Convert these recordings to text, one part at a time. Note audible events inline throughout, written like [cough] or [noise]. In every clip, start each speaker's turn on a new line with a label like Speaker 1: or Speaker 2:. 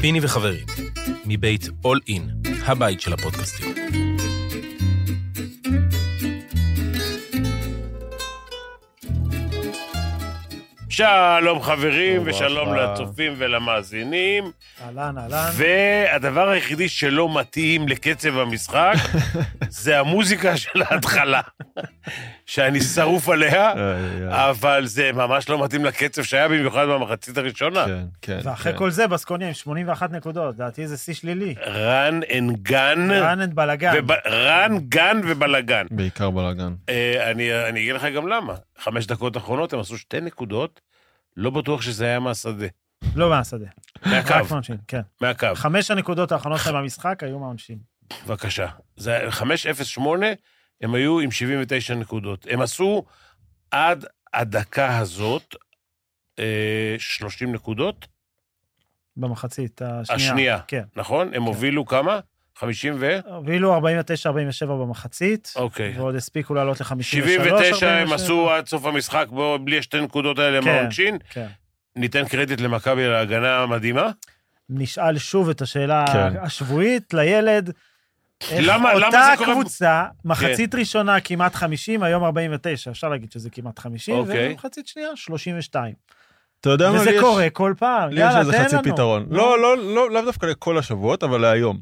Speaker 1: פיני וחברים, מבית All In, הבית של הפודקאסטים.
Speaker 2: שלום חברים,
Speaker 3: שלום
Speaker 2: ושלום
Speaker 3: וברכה.
Speaker 2: לצופים ולמאזינים.
Speaker 4: אהלן, אהלן.
Speaker 2: והדבר היחידי שלא מתאים לקצב
Speaker 3: [laughs]
Speaker 2: המשחק, זה המוזיקה של ההתחלה, שאני שרוף עליה,
Speaker 3: איי, איי.
Speaker 2: אבל זה ממש לא מתאים לקצב שהיה במיוחד במחצית הראשונה.
Speaker 3: כן, כן.
Speaker 4: לא. ואחרי
Speaker 3: כן.
Speaker 4: כל זה, בסקוניה עם 81 נקודות, דעתי זה שיא שלילי.
Speaker 2: אה, רן אנד גן,
Speaker 4: רן אנד בלאגן.
Speaker 2: וב- רן גן ובלאגן.
Speaker 3: בעיקר בלאגן.
Speaker 2: אה, אני אני אגיד לך גם למה. חמש דקות אחרונות הם עשו שתי נקודות, לא בטוח שזה היה מהשדה,
Speaker 4: לא מהשדה. רק [laughs]
Speaker 2: מהקו,
Speaker 4: מהעונשין, כן.
Speaker 2: מהקו.
Speaker 4: חמש הנקודות האחרונות שלהם במשחק היו מהעונשין.
Speaker 2: בבקשה. זה היה 508, הם היו עם 79 נקודות. הם עשו עד הדקה הזאת אה, 30 נקודות,
Speaker 4: במחצית השנייה.
Speaker 2: השנייה.
Speaker 4: כן.
Speaker 2: נכון? הם הובילו כמה? 50 ו...
Speaker 4: הובילו 49-47 במחצית,
Speaker 2: אוקיי.
Speaker 4: ועוד הספיקו לעלות ל-53-47.
Speaker 2: 79 הם עשו עד סוף המשחק, בו, בלי השתי נקודות האלה
Speaker 4: כן.
Speaker 2: מהעונשין.
Speaker 4: כן.
Speaker 2: ניתן קרדיט למכבי על ההגנה המדהימה.
Speaker 4: נשאל שוב את השאלה
Speaker 3: כן.
Speaker 4: השבועית לילד. איך
Speaker 2: למה- למה
Speaker 4: אותה
Speaker 2: זה קורה? כן.
Speaker 4: קבוצה, מחצית ראשונה כמעט 50, היום 49, אפשר להגיד שזה כמעט 50,
Speaker 2: אוקיי.
Speaker 4: ומחצית שנייה 32.
Speaker 3: אתה יודע מה?
Speaker 4: וזה
Speaker 3: לי יש-
Speaker 4: קורה כל פעם,
Speaker 3: לי יש
Speaker 4: יאללה,
Speaker 3: איזה
Speaker 4: תן
Speaker 3: חצי
Speaker 4: לנו.
Speaker 3: פתרון. לא, לא, לא, לאו דווקא לכל השבועות, אבל להיום.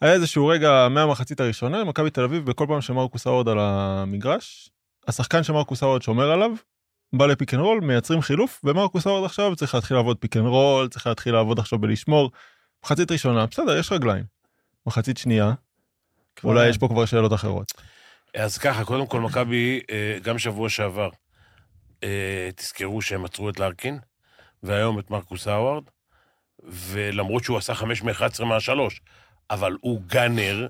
Speaker 3: היה איזשהו רגע מהמחצית הראשונה, מכבי תל אביב, בכל פעם שמרקוס האורד על המגרש, השחקן שמרקוס האורד שומר עליו, בא לפיק אנד רול, מייצרים חילוף, ומרקוס האורד עכשיו צריך להתחיל לעבוד פיק אנד רול, צריך להתחיל לעבוד עכשיו בלשמור. מחצית ראשונה, בסדר, יש רגליים. מחצית שנייה,
Speaker 4: כבר
Speaker 3: לא. אולי
Speaker 4: אין.
Speaker 3: יש פה כבר שאלות אחרות.
Speaker 2: אז ככה, קודם כל, מכבי, אה, גם שבוע שעבר, אה, תזכרו שהם עצרו את לארקין, והיום את מרקוס האווארד, ולמרות שהוא עשה 5 מ-11 מהשלוש, אבל הוא גאנר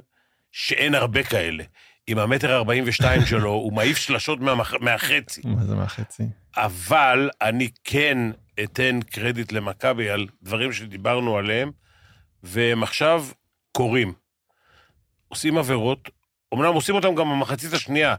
Speaker 2: שאין הרבה כאלה. עם המטר 42 שלו, הוא מעיף שלשות מהמח... מהחצי.
Speaker 3: מה זה מהחצי?
Speaker 2: אבל אני כן אתן קרדיט למכבי על דברים שדיברנו עליהם, והם עכשיו קורים. עושים עבירות, אמנם עושים אותם גם במחצית השנייה,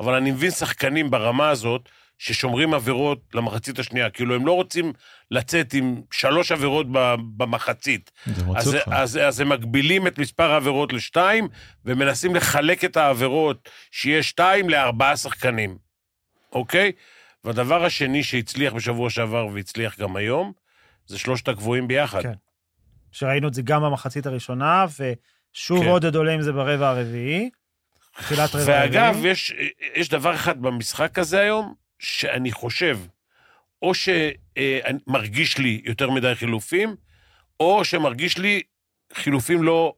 Speaker 2: אבל אני מבין שחקנים ברמה הזאת ששומרים עבירות למחצית השנייה, כאילו הם לא רוצים לצאת עם שלוש עבירות ב- במחצית.
Speaker 3: זה
Speaker 2: אז,
Speaker 3: מוציא אותך.
Speaker 2: אז, אז הם מגבילים את מספר העבירות לשתיים, ומנסים לחלק את העבירות שיהיה שתיים לארבעה שחקנים, אוקיי? והדבר השני שהצליח בשבוע שעבר והצליח גם היום, זה שלושת הגבוהים ביחד.
Speaker 4: כן. שראינו את זה גם במחצית הראשונה, ושוב
Speaker 2: כן.
Speaker 4: עודד עולה עם זה ברבע הרביעי. תחילת רבע הרביעי.
Speaker 2: ואגב, יש, יש דבר אחד במשחק הזה היום, שאני חושב, או שמרגיש לי יותר מדי חילופים, או שמרגיש לי חילופים לא...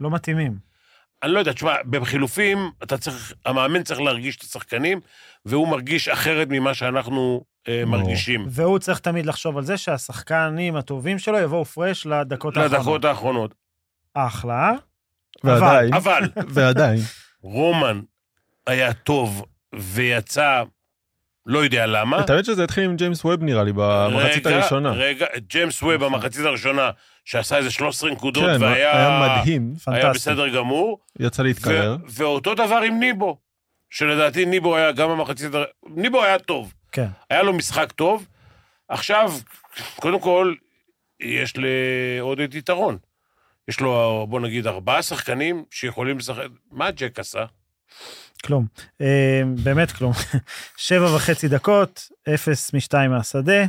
Speaker 4: לא מתאימים.
Speaker 2: אני לא יודע, תשמע, בחילופים, אתה צריך, המאמן צריך להרגיש את השחקנים, והוא מרגיש אחרת ממה שאנחנו אה,
Speaker 3: ברור.
Speaker 2: מרגישים.
Speaker 4: והוא צריך תמיד לחשוב על זה שהשחקנים הטובים שלו יבואו פרש לדקות האחרונות.
Speaker 2: לדקות לא, האחרונות.
Speaker 4: אחלה.
Speaker 3: ועדיין,
Speaker 2: אבל
Speaker 3: ועדיין.
Speaker 2: רומן היה טוב ויצא, לא יודע למה.
Speaker 3: את האמת שזה התחיל עם ג'יימס ווב נראה לי במחצית
Speaker 2: רגע,
Speaker 3: הראשונה.
Speaker 2: רגע, ג'יימס ווב במחצית הראשונה, שעשה איזה 13 נקודות,
Speaker 3: כן,
Speaker 2: והיה
Speaker 3: היה מדהים, כן.
Speaker 2: היה
Speaker 4: פנטסטי.
Speaker 2: בסדר גמור.
Speaker 3: יצא להתקרר.
Speaker 2: ו- ואותו דבר עם ניבו, שלדעתי ניבו היה גם במחצית... הר- ניבו היה טוב.
Speaker 4: כן.
Speaker 2: היה לו משחק טוב. עכשיו, קודם כל, יש לעודד יתרון. יש לו, בוא נגיד, ארבעה שחקנים שיכולים לשחק... מה ג'ק עשה?
Speaker 4: כלום. אה, באמת כלום. [laughs] שבע וחצי דקות, אפס משתיים מהשדה,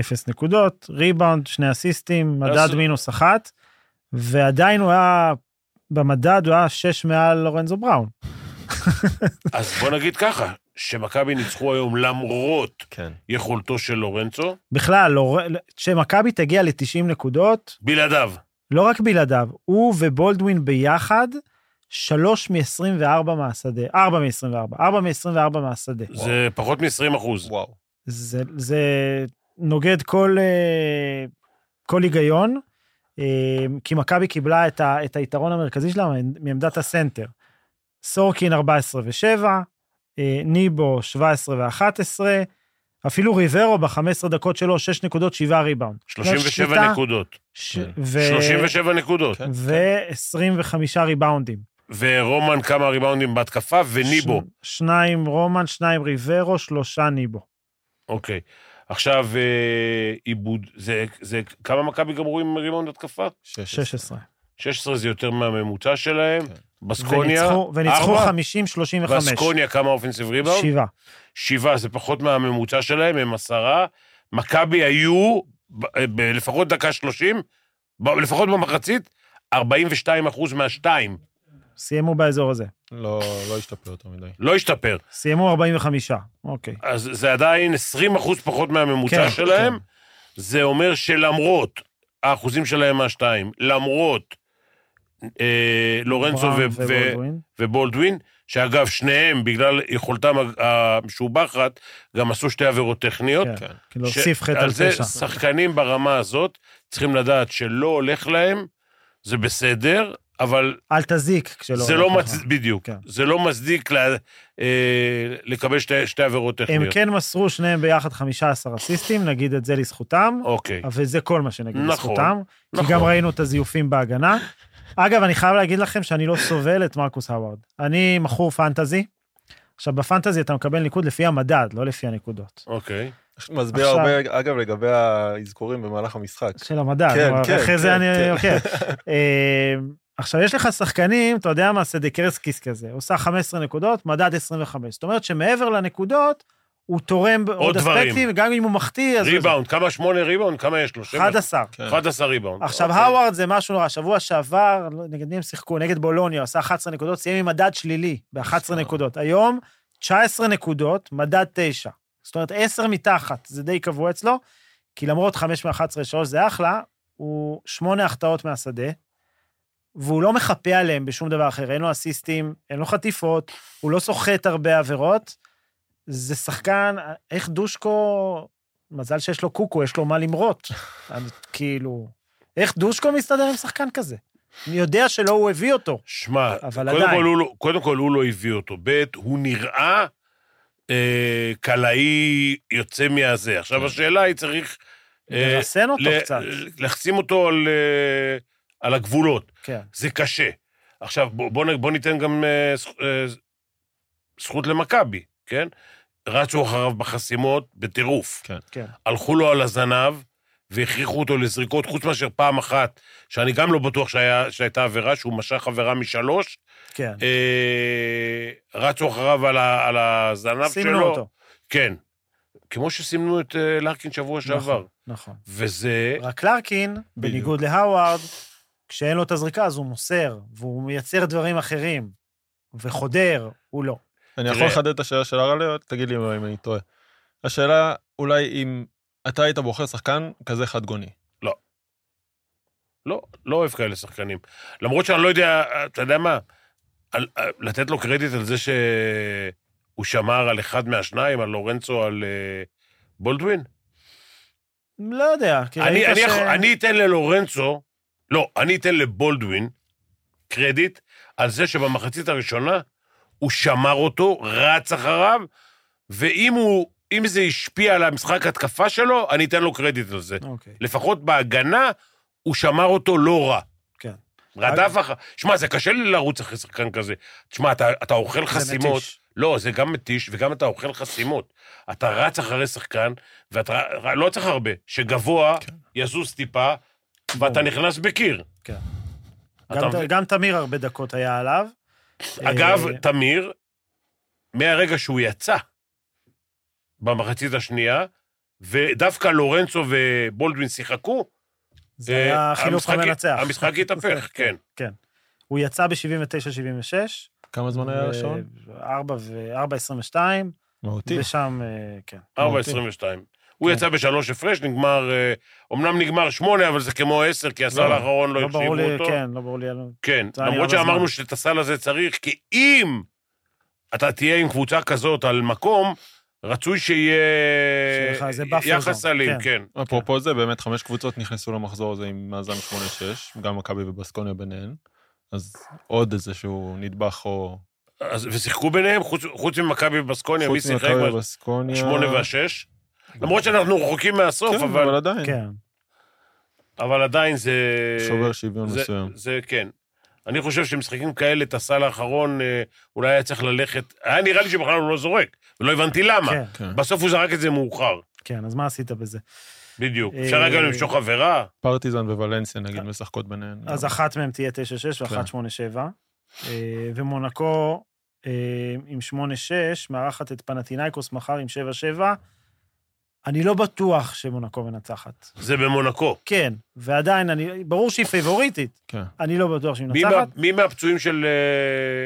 Speaker 4: אפס נקודות, ריבאונד, שני אסיסטים, מדד
Speaker 2: אז-
Speaker 4: מינוס אחת, ועדיין הוא היה, במדד הוא היה שש מעל לורנזו בראון.
Speaker 2: אז בוא נגיד ככה, שמכבי ניצחו היום למרות
Speaker 3: כן.
Speaker 2: יכולתו של לורנצו,
Speaker 4: בכלל, לא- כשמכבי תגיע ל-90 נקודות,
Speaker 2: בלעדיו.
Speaker 4: לא רק בלעדיו, הוא ובולדווין ביחד, שלוש מ-24 מהשדה, ארבע מ-24, ארבע מ-24 מהשדה.
Speaker 2: זה פחות מ-20 אחוז.
Speaker 3: וואו.
Speaker 4: זה, זה נוגד כל, אה, כל היגיון, אה, כי מכבי קיבלה את, ה, את היתרון המרכזי שלה מעמדת הסנטר. סורקין 14 ו-7, אה, ניבו 17 ו-11, אפילו ריברו ב-15 דקות שלו 6.7 ריבאונד.
Speaker 2: 37
Speaker 4: שליטה,
Speaker 2: נקודות.
Speaker 4: ש...
Speaker 3: כן.
Speaker 4: ו...
Speaker 2: 37 נקודות.
Speaker 3: כן.
Speaker 4: ו-25 ריבאונדים.
Speaker 2: ורומן כמה ריבאונדים בהתקפה, וניבו.
Speaker 4: ש... שניים רומן, שניים ריברו, שלושה ניבו.
Speaker 2: אוקיי. עכשיו אה, עיבוד, זה, זה כמה מכבי גמרו עם ריבאונד התקפה?
Speaker 4: 16.
Speaker 2: 16 זה יותר מהממוצע שלהם.
Speaker 3: כן.
Speaker 2: בסקוניה,
Speaker 4: וניצחו- וניצחו
Speaker 2: ארבע?
Speaker 4: 50-35.
Speaker 2: בסקוניה כמה אופנסיב ריבאונד?
Speaker 4: שבעה.
Speaker 2: שבעה, זה פחות מהממוצע שלהם, הם עשרה. מכבי היו, ב- ב- לפחות דקה שלושים, ב- לפחות במחצית, 42 אחוז מהשתיים.
Speaker 4: סיימו באזור הזה.
Speaker 3: לא לא השתפר יותר מדי.
Speaker 2: לא השתפר.
Speaker 4: סיימו 45. אוקיי.
Speaker 2: אז זה עדיין 20 אחוז פחות מהממוצע
Speaker 4: כן,
Speaker 2: כן, שלהם.
Speaker 4: כן.
Speaker 2: כן. זה אומר שלמרות האחוזים שלהם מהשתיים, למרות אה, לורנצו ו-
Speaker 4: אברהם
Speaker 2: ו-
Speaker 4: ובולדווין.
Speaker 2: ובולדווין, שאגב, שניהם, בגלל יכולתם הג- המשובחת, גם עשו שתי עבירות טכניות.
Speaker 4: כן.
Speaker 3: כן.
Speaker 4: כאילו, הוסיף חטא על
Speaker 2: לא, על זה
Speaker 4: פשע.
Speaker 2: שחקנים ברמה הזאת צריכים לדעת שלא הולך להם, זה בסדר, אבל
Speaker 4: אל תזיק כשלא...
Speaker 2: זה לא
Speaker 4: הולך לך.
Speaker 2: מצדיק, בדיוק,
Speaker 4: כן.
Speaker 2: זה לא מצדיק ל- אה, לקבל שתי שתי עבירות
Speaker 4: הם
Speaker 2: טכניות.
Speaker 4: כן מסרו שניהם ביחד 15 אסיסטים, נגיד את זה לזכותם,
Speaker 2: אוקיי.
Speaker 4: אבל זה כל מה שנגיד
Speaker 2: נכון,
Speaker 4: לזכותם. כי
Speaker 2: נכון.
Speaker 4: גם ראינו את הזיופים בהגנה. אגב, אני חייב להגיד לכם שאני לא סובל את מרקוס האווארד. אני מכור פנטזי. עכשיו, בפנטזי אתה מקבל ניקוד לפי המדד, לא לפי הנקודות.
Speaker 2: אוקיי.
Speaker 3: מסביר
Speaker 4: עכשיו-
Speaker 3: הרבה, אגב, לגבי האזכורים במהלך המשחק.
Speaker 4: של המדד,
Speaker 3: כן,
Speaker 4: אבל
Speaker 3: כן,
Speaker 4: אה, אחרי זה
Speaker 3: כן,
Speaker 4: אני...
Speaker 3: כן.
Speaker 4: אוקיי. אה, עכשיו, יש לך שחקנים, אתה יודע מה, סדקרסקיס כזה, עושה 15 נקודות, מדד 25. זאת אומרת שמעבר לנקודות, הוא תורם בעוד
Speaker 2: דברים.
Speaker 4: אספקטים, גם אם הוא מחטיא, אז... הוא-
Speaker 2: ריבאונד, כמה שמונה ריבאונד? כמה יש לו? שבע?
Speaker 4: 11.
Speaker 2: 11 ריבאונד.
Speaker 4: עכשיו,
Speaker 2: אוקיי.
Speaker 4: האווארד זה משהו נורא. שבוע שעבר, לא- נגד מי הם שיחקו? נגד בולוניה, עשה 11 נקודות, סיים עם מדד שלילי ב-11
Speaker 3: אה.
Speaker 4: נקודות. היום, 19 נקודות, מדד 9. זאת אומרת, 10 מתחת, זה די קבוע אצלו, כי למרות 5 מ-11 3 זה אחלה, הוא 8 החטאות מהשדה, והוא לא מחפה עליהם בשום דבר אחר. אין לו אסיסטים, אין לו חטיפות, הוא לא סוחט הרבה עבירות. זה שחקן, איך דושקו... מזל שיש לו קוקו, יש לו מה למרות. אני, כאילו, איך דושקו מסתדר עם שחקן כזה? אני יודע שלא הוא הביא אותו.
Speaker 2: שמע,
Speaker 4: אבל
Speaker 2: קודם
Speaker 4: עדיין.
Speaker 2: כל הוא לא- קודם כל הוא לא הביא אותו. ב', הוא נראה אה, קלעי יוצא מהזה. עכשיו, השאלה היא צריך... אה,
Speaker 4: לרסן כן. אותו
Speaker 2: ל-
Speaker 4: קצת.
Speaker 2: לשים אותו על, אה, על הגבולות.
Speaker 4: כן.
Speaker 2: זה קשה. עכשיו, בוא, בוא, נ- בוא ניתן גם אה, זכ- אה, זכות למכבי, כן? רצו אחריו בחסימות בטירוף.
Speaker 3: כן.
Speaker 4: כן.
Speaker 2: הלכו לו על הזנב והכריחו אותו לזריקות, חוץ מאשר פעם אחת, שאני גם לא בטוח שהיה, שהייתה עבירה, שהוא משך עבירה משלוש.
Speaker 4: כן.
Speaker 2: אה, רצו אחריו על, ה, על הזנב שלו.
Speaker 4: סימנו אותו.
Speaker 2: כן. כמו שסימנו את אה, לארקין שבוע שעבר.
Speaker 4: נכון, נכון.
Speaker 2: וזה...
Speaker 4: רק לארקין, בניגוד להאווארד, כשאין לו את הזריקה אז הוא מוסר, והוא מייצר דברים אחרים, וחודר, הוא לא.
Speaker 3: [laughs] אני יכול
Speaker 2: תראה.
Speaker 3: לחדד את השאלה של הרלה, תגיד לי אם אני טועה. השאלה, אולי אם אתה היית בוחר שחקן כזה חד גוני.
Speaker 2: לא, לא אוהב כאלה שחקנים. למרות שאני לא יודע, אתה יודע מה, על, על, לתת לו קרדיט על זה שהוא שמר על אחד מהשניים, על לורנצו, על אה, בולדווין?
Speaker 4: לא יודע, כי ראית
Speaker 2: אני, אני,
Speaker 4: ש...
Speaker 2: יכול, אני אתן ללורנצו, לא, אני אתן לבולדווין קרדיט על זה שבמחצית הראשונה הוא שמר אותו, רץ אחריו, ואם הוא, אם זה השפיע על המשחק התקפה שלו, אני אתן לו קרדיט על זה.
Speaker 4: אוקיי.
Speaker 2: לפחות בהגנה, הוא שמר אותו לא רע.
Speaker 4: כן.
Speaker 2: רדף אחר... שמע, זה קשה לי לרוץ אחרי שחקן כזה. תשמע, אתה, אתה אוכל חסימות.
Speaker 4: מתיש.
Speaker 2: לא, זה גם מתיש, וגם אתה אוכל חסימות. אתה רץ אחרי שחקן, ואתה ר- לא צריך הרבה, שגבוה,
Speaker 3: כן.
Speaker 2: יזוז טיפה, ואתה
Speaker 4: ברור.
Speaker 2: נכנס בקיר.
Speaker 4: כן.
Speaker 2: אתה
Speaker 4: גם-
Speaker 2: מבין?
Speaker 4: גם תמיר הרבה דקות היה עליו.
Speaker 2: אגב,
Speaker 4: אה,
Speaker 2: תמיר, מהרגע שהוא יצא במחצית השנייה, ודווקא לורנצו ובולדווין שיחקו,
Speaker 4: זה
Speaker 2: אה,
Speaker 4: היה החילוף
Speaker 2: המשחק-
Speaker 4: המנצח.
Speaker 2: המשחק התהפך, כן.
Speaker 4: [laughs] כן. הוא יצא ב-79-76.
Speaker 3: כמה זמן היה לשעון?
Speaker 4: 4 ו-4.22,
Speaker 3: מהותי.
Speaker 4: ושם, אה, כן.
Speaker 2: 4.22. הוא יצא בשלוש הפרש, נגמר, אה, אומנם נגמר שמונה, אבל זה כמו עשר, כי הסל
Speaker 3: לא,
Speaker 2: האחרון לא
Speaker 4: לא ברור
Speaker 2: הקשיבו
Speaker 4: לי,
Speaker 2: אותו.
Speaker 4: כן, לא ברור לי. על-
Speaker 2: כן,
Speaker 4: זה היה
Speaker 2: למרות
Speaker 4: נראה בזמן.
Speaker 2: שאמרנו שאת הסל הזה צריך, כי אם אתה תהיה עם קבוצה כזאת על מקום, רצוי שיהיה
Speaker 4: שיהיה לך איזה buffer
Speaker 2: יחס
Speaker 4: zone,
Speaker 2: סלים,
Speaker 4: כן.
Speaker 2: כן.
Speaker 3: אפרופו זה, באמת חמש קבוצות נכנסו למחזור הזה עם מאזן 8-6, גם מכבי ובסקוניה ביניהן. אז עוד איזשהו נדבך או...
Speaker 2: אז- ושיחקו ביניהם, חוץ- חוץ ממכבי ובסקוניה, מי
Speaker 3: חוץ
Speaker 2: שיחק
Speaker 3: ממכבי ובסקוניה...
Speaker 2: בשמונה והשש? למרות שאנחנו רחוקים מהסוף,
Speaker 3: כן,
Speaker 2: אבל-
Speaker 3: אבל עדיין.
Speaker 4: כן.
Speaker 2: אבל עדיין זה...
Speaker 3: שובר שוויון
Speaker 2: זה-
Speaker 3: מסוים.
Speaker 2: זה כן. אני חושב שמשחקים כאלה, את הסל האחרון, אה, אולי היה צריך ללכת... היה נראה לי שבכלל הוא לא זורק, ולא הבנתי למה.
Speaker 4: כן.
Speaker 3: כן.
Speaker 2: בסוף הוא זרק את זה מאוחר.
Speaker 4: כן, אז מה עשית בזה?
Speaker 2: בדיוק.
Speaker 4: אה,
Speaker 2: אפשר רגע למשוך עבירה?
Speaker 3: פרטיזן ווולנסיה נגיד משחקות ביניהן.
Speaker 2: לא.
Speaker 4: אז
Speaker 3: גם.
Speaker 4: אחת מהן תהיה 9-6
Speaker 2: כן.
Speaker 4: ואחת 8-7. אה, ומונקו אה, עם 8-6, מארחת את פנטינאיקוס מחר עם 7-7. אני לא בטוח שמונקו מנצחת.
Speaker 2: זה במונקו.
Speaker 4: כן, ועדיין, אני, ברור שהיא פייבוריטית,
Speaker 3: כן.
Speaker 4: אני לא בטוח שהיא
Speaker 2: מי
Speaker 4: מנצחת.
Speaker 2: מה- מי מהפצועים של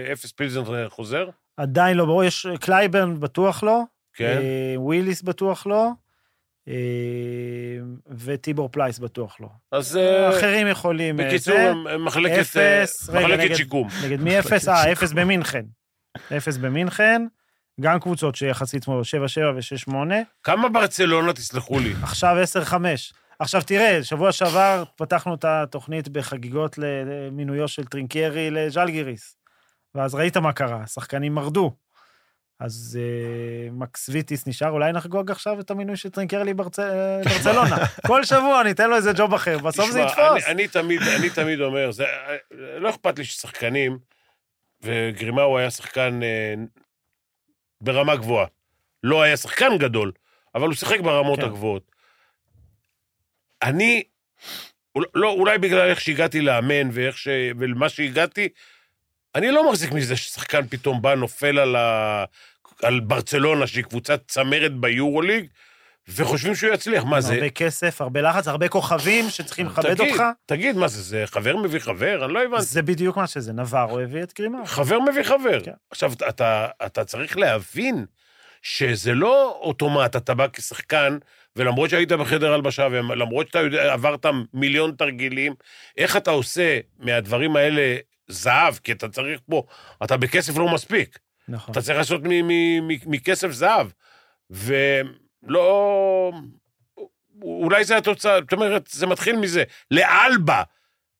Speaker 2: אה, אפס פילזנר חוזר?
Speaker 4: עדיין לא ברור, יש קלייברן בטוח לא,
Speaker 2: כן.
Speaker 4: אה, וויליס בטוח לא, אה, וטיבור פלייס בטוח לא.
Speaker 2: אז אה,
Speaker 4: אחרים יכולים... אה,
Speaker 2: בקיצור,
Speaker 4: זה.
Speaker 2: הם- הם מחלקת אה,
Speaker 4: אפס, רגע,
Speaker 2: מחלקת
Speaker 4: נגד-
Speaker 2: שיקום.
Speaker 4: נגד מי אפס? אה, אפס במינכן. אפס במינכן, גם קבוצות שיחסית כמו 7-7 ו-6-8,
Speaker 2: כמה ברצלונה, תסלחו לי?
Speaker 4: עכשיו 10-5. עכשיו תראה, שבוע שעבר פתחנו את התוכנית בחגיגות למינויו של טרינקיירי לז'לגיריס, ואז ראית מה קרה, השחקנים מרדו. אז אה, מקס ויטיס נשאר, אולי נחגוג עכשיו את המינוי של טרינקיירי לברצ- אה, לברצלונה. כל שבוע ניתן לו איזה ג'וב אחר, בסוף זה
Speaker 2: תשמע,
Speaker 4: יתפוס.
Speaker 2: אני, אני, תמיד, אני תמיד אומר, זה, לא אכפת לי ששחקנים, וגרימאו היה שחקן אה, ברמה גבוהה. לא היה שחקן גדול, אבל הוא שיחק ברמות
Speaker 4: כן.
Speaker 2: כן. הגבוהות. אני, אול- לא, אולי בגלל איך שהגעתי לאמן ואיך ש... ולמה שהגעתי, אני לא מחזיק מזה ששחקן פתאום בא, נופל על, ה... על ברצלונה, שהיא קבוצת צמרת ביורוליג, וחושבים שהוא יצליח. מה זה,
Speaker 4: הרבה כסף, הרבה לחץ, הרבה כוכבים שצריכים לכבד
Speaker 2: תגיד,
Speaker 4: אותך.
Speaker 2: תגיד, מה זה, זה חבר מביא חבר? אני לא הבנתי.
Speaker 4: זה בדיוק מה שזה, נברו הביא את גרימה.
Speaker 2: חבר מביא חבר.
Speaker 4: כן.
Speaker 2: עכשיו, אתה, אתה צריך להבין שזה לא אוטומט, אתה בא כשחקן, ולמרות שהיית בחדר הלבשה, ולמרות שאתה יודע, עברת מיליון תרגילים, איך אתה עושה מהדברים האלה זהב? כי אתה צריך פה, אתה בכסף לא מספיק.
Speaker 4: נכון.
Speaker 2: אתה צריך לעשות מ- מ- מ- מכסף זהב. ולא... אולי זה התוצאה, זאת אומרת, זה מתחיל מזה. לאלבה,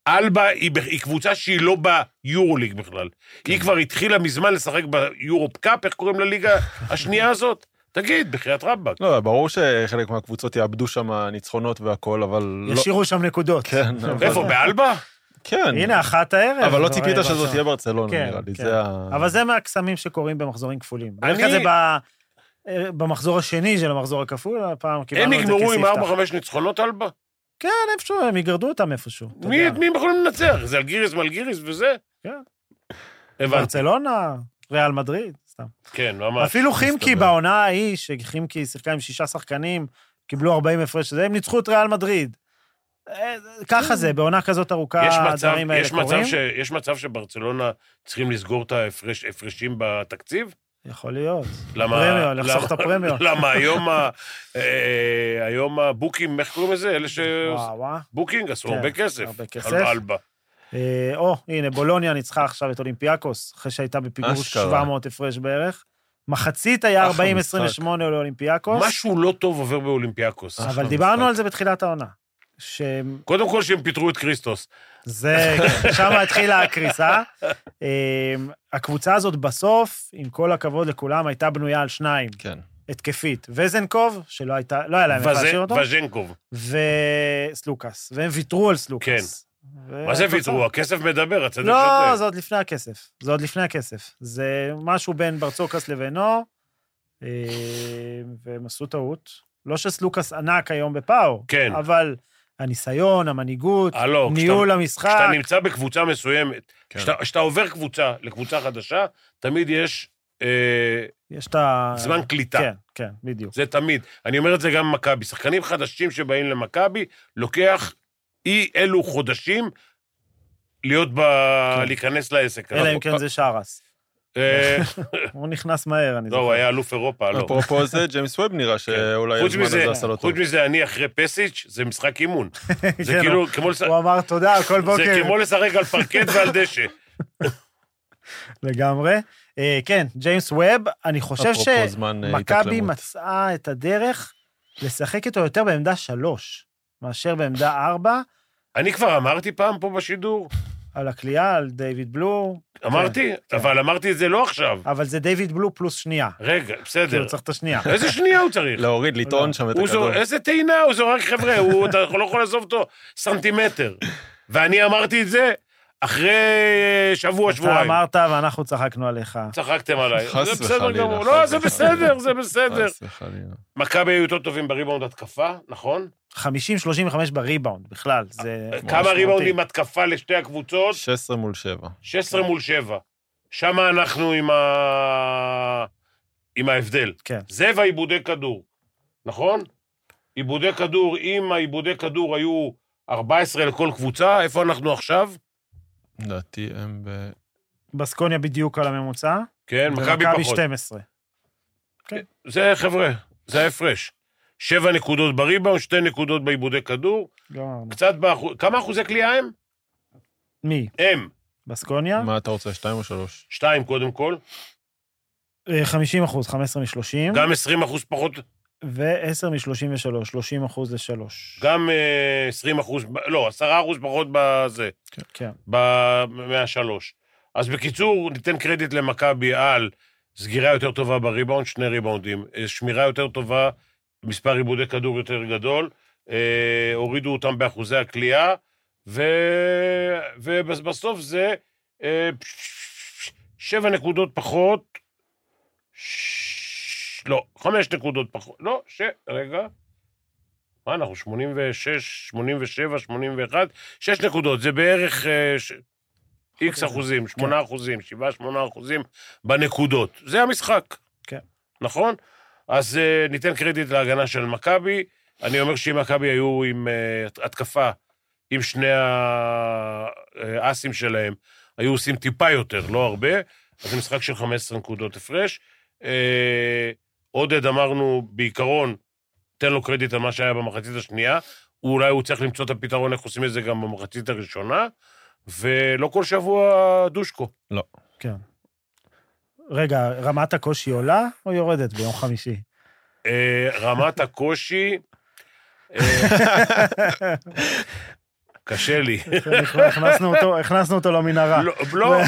Speaker 2: אלבה היא, ב- היא קבוצה שהיא לא ביורוליג בכלל. כן. היא כבר התחילה מזמן לשחק ביורופ קאפ, איך קוראים
Speaker 4: [laughs]
Speaker 2: לליגה השנייה הזאת? תגיד, בחייאת רבאק.
Speaker 3: לא, ברור שחלק מהקבוצות יאבדו שם ניצחונות והכל, אבל לא...
Speaker 4: ישאירו שם נקודות.
Speaker 3: כן, אבל-
Speaker 2: איפה, באלבה?
Speaker 3: כן.
Speaker 4: הנה, אחת הערב.
Speaker 3: אבל לא
Speaker 4: כבר
Speaker 3: ציפית
Speaker 4: רבע
Speaker 3: שזאת
Speaker 4: שעה.
Speaker 3: תהיה ברצלונה,
Speaker 4: כן,
Speaker 3: נראה לי.
Speaker 4: כן.
Speaker 3: זה ה...
Speaker 4: אבל זה מהקסמים שקורים במחזורים כפולים. בדרך
Speaker 2: אני-
Speaker 4: כלל זה ב- במחזור השני של המחזור הכפול, הפעם
Speaker 2: הם
Speaker 4: קיבלנו את זה
Speaker 2: יגמרו עם
Speaker 4: כספתח.
Speaker 2: 4-5 ניצחונות אלבה?
Speaker 4: כן, איפשהו, הם יגרדו אותם איפשהו. אתה
Speaker 2: מי
Speaker 4: יודע.
Speaker 2: את מי הם יכולים לנצח? זה אלגיריס מלגיריס וזה?
Speaker 4: כן.
Speaker 2: הבנתי,
Speaker 4: ברצלונה, ריאל מדריד, סתם.
Speaker 2: כן, ממש.
Speaker 4: אפילו חימקי
Speaker 3: מסתבר.
Speaker 4: בעונה ההיא, שחימקי שיחקה עם שישה שחקנים, קיבלו 40 הפרש, זה, הם ניצחו את ריאל מדריד. אה, ככה זה, בעונה כזאת ארוכה,
Speaker 2: כן. יש מצב,
Speaker 4: הדברים האלה
Speaker 2: יש מצב,
Speaker 4: קורים.
Speaker 2: ש, יש מצב שברצלונה צריכים לסגור את ההפרש, הפרשים בתקציב?
Speaker 4: יכול להיות.
Speaker 2: למה...
Speaker 4: פרמיות, לחסוך
Speaker 2: למה-
Speaker 4: את הפרמיות.
Speaker 2: [laughs] למה היום, ה, אה, היום הבוקים, איך קוראים לזה? אלה שבוקינג
Speaker 4: וואו, וואו.
Speaker 2: עשו
Speaker 4: כן,
Speaker 2: הרבה כסף.
Speaker 4: הרבה כסף.
Speaker 2: על אלבה.
Speaker 4: אה, או, הנה, בולוניה ניצחה עכשיו את אולימפיאקוס, אחרי שהייתה בפיגור
Speaker 3: אשכרה.
Speaker 4: 700 הפרש בערך. מחצית היה
Speaker 3: אחלה
Speaker 4: 40-28 לאולימפיאקוס,
Speaker 2: משהו לא טוב עובר באולימפיאקוס.
Speaker 3: אה.
Speaker 4: אבל
Speaker 3: אחלה
Speaker 4: דיברנו
Speaker 3: משחק.
Speaker 4: על זה בתחילת העונה. שזה,
Speaker 2: קודם כל שהם פיטרו את קריסטוס. [laughs]
Speaker 4: שם התחילה הקריסה. אה, הקבוצה הזאת בסוף, עם כל הכבוד לכולם, הייתה בנויה על שניים,
Speaker 3: כן.
Speaker 4: התקפית. וזנקוב, שלא הייתה, לא היה להם איך
Speaker 2: וזה-
Speaker 4: להשאיר אותו,
Speaker 2: וז'נקוב.
Speaker 4: וסלוקאס, והם ויתרו על סלוקאס.
Speaker 2: כן. מה זה
Speaker 4: והתוצאה-
Speaker 2: ויתרו? הכסף מדבר, הצדק
Speaker 4: אה, לא,
Speaker 2: שותק.
Speaker 4: זה עוד לפני הכסף. זה עוד לפני הכסף. זה משהו בין ברצוקס לבינו, אה, והם עשו טעות. לא שסלוקס ענק היום בפאו,
Speaker 2: כן.
Speaker 4: אבל הניסיון, המנהיגות,
Speaker 2: הלו, כשאתה-
Speaker 4: ניהול המשחק,
Speaker 2: כשאתה נמצא בקבוצה מסוימת,
Speaker 3: כן.
Speaker 2: כשאתה- כשאתה עובר קבוצה לקבוצה חדשה, תמיד יש אה,
Speaker 4: יש את ה...
Speaker 2: זמן קליטה.
Speaker 4: כן, כן, בדיוק.
Speaker 2: זה תמיד. אני אומר את זה גם במכבי. שחקנים חדשים שבאים למכבי, לוקח אי אלו חודשים להיות ב...
Speaker 4: כן.
Speaker 2: להיכנס לעסק.
Speaker 4: אלא אם כן זה שרס.
Speaker 2: אה,
Speaker 4: הוא נכנס מהר, אני
Speaker 2: לא,
Speaker 4: זוכר.
Speaker 2: הוא היה אלוף אירופה, לא.
Speaker 3: אפרופו זה, ג'יימס ווב נראה שאולי
Speaker 2: כן. חוץ
Speaker 3: הזמן
Speaker 2: מזה,
Speaker 3: הזה עשה לו טוב.
Speaker 2: חוץ מזה, אני אחרי פסיץ', זה משחק אימון.
Speaker 4: [laughs]
Speaker 2: זה
Speaker 4: כן,
Speaker 2: כאילו,
Speaker 4: הוא-
Speaker 2: כמו לש-
Speaker 4: הוא אוקיי. אמר תודה כל
Speaker 2: זה
Speaker 4: בוקר,
Speaker 2: כמו לשחק על
Speaker 4: [laughs]
Speaker 2: פרקט ועל דשא.
Speaker 4: לגמרי. אה, כן, ג'יימס ווב, אני חושב ש...
Speaker 3: אפרופו זמן אה,
Speaker 4: מכבי
Speaker 3: התאקלמות.
Speaker 4: מצאה את הדרך לשחק איתו יותר בעמדה שלוש, מאשר בעמדה ארבע,
Speaker 2: אני כבר אמרתי פעם פה בשידור,
Speaker 4: על הקליעה, על דיוויד בלו,
Speaker 2: אמרתי,
Speaker 4: כן.
Speaker 2: אבל אמרתי את זה לא עכשיו.
Speaker 4: אבל זה דיוויד בלו פלוס שנייה.
Speaker 2: רגע,
Speaker 4: כי הוא
Speaker 2: בסדר.
Speaker 4: כן, צריך את השנייה.
Speaker 2: איזה שנייה הוא צריך?
Speaker 3: להוריד,
Speaker 4: לא.
Speaker 3: לטעון שם את
Speaker 2: הוא
Speaker 3: הכדור.
Speaker 2: זור, איזה טעינה הוא זורק, חבר'ה, הוא, אתה לא יכול לעזוב אותו סנטימטר. ואני אמרתי את זה, אחרי שבוע,
Speaker 4: אתה
Speaker 2: שבועיים.
Speaker 4: אמרת ואנחנו צחקנו עליך.
Speaker 2: צחקתם עליי.
Speaker 3: חס
Speaker 2: זה בסדר
Speaker 3: וחלילה,
Speaker 2: גמור.
Speaker 3: חס
Speaker 2: לא, זה
Speaker 3: וחלילה.
Speaker 2: בסדר, זה בסדר.
Speaker 3: חס וחלילה.
Speaker 2: מכבי היו יותר טובים בריבאונד התקפה, נכון?
Speaker 4: 50-35 בריבאונד בכלל, זה...
Speaker 2: כמה
Speaker 4: משמעותי.
Speaker 2: ריבאונדים התקפה לשתי הקבוצות?
Speaker 3: 16 מול 7.
Speaker 2: 16 מול 7. שם אנחנו עם, ה... עם ההבדל.
Speaker 4: כן.
Speaker 2: זה והעיבודי כדור, נכון? עיבודי כדור, אם העיבודי כדור היו 14 לכל קבוצה, איפה אנחנו עכשיו?
Speaker 3: לדעתי הם ב...
Speaker 4: בסקוניה בדיוק על הממוצע,
Speaker 2: כן, מכבי
Speaker 4: ומכבי
Speaker 2: פחות.
Speaker 4: 12.
Speaker 2: זה, חבר'ה, זה ההפרש. שבע נקודות בריבאונד, שתי נקודות בעיבודי כדור,
Speaker 4: גמרנו.
Speaker 2: קצת באחוז... כמה אחוזי קליעה הם?
Speaker 4: מי?
Speaker 2: הם.
Speaker 4: בסקוניה?
Speaker 3: מה אתה רוצה, 2 או 3?
Speaker 2: שתיים, קודם כל.
Speaker 4: אה, 50 אחוז, 15 מ-30,
Speaker 2: גם 20 אחוז פחות,
Speaker 4: ו-10 מ-33, 30 אחוז ל-3.
Speaker 2: גם אה, 20 אחוז, לא, 10 אחוז פחות בזה.
Speaker 4: כן.
Speaker 2: ב- מהשלוש. אז בקיצור, ניתן קרדיט למכבי על סגירה יותר טובה בריבאונד, שני ריבאונדים, אה, שמירה יותר טובה, מספר עיבודי כדור יותר גדול, אה, הורידו אותם באחוזי הכלייה, ו... ובסוף זה אה, שבע נקודות פחות, ש... לא, חמש נקודות פחות, לא, ש... רגע. מה, אנחנו 86, 87, 81, שש נקודות, זה בערך אה, ש... איקס אחוזים, שמונה אחוזים, שבעה, שמונה אחוזים בנקודות. זה המשחק.
Speaker 4: כן.
Speaker 2: נכון? אז אה, ניתן קרדיט להגנה של מכבי. אני אומר שאם מכבי היו עם אה, התקפה, עם שני האסים שלהם, היו עושים טיפה יותר, לא הרבה, אז זה משחק של 15 נקודות הפרש. אה, עודד, אמרנו, בעיקרון, תן לו קרדיט על מה שהיה במחצית השנייה. הוא אולי הוא צריך למצוא את הפתרון איך עושים את זה גם במחצית הראשונה, ולא כל שבוע דושקו.
Speaker 4: כן. רגע, רמת הקושי עולה או יורדת ביום חמישי?
Speaker 2: אה, רמת הקושי... אה, קשה לי.
Speaker 4: אנחנו הכנסנו אותו- הכנסנו אותו למנהרה.
Speaker 2: לא, לא,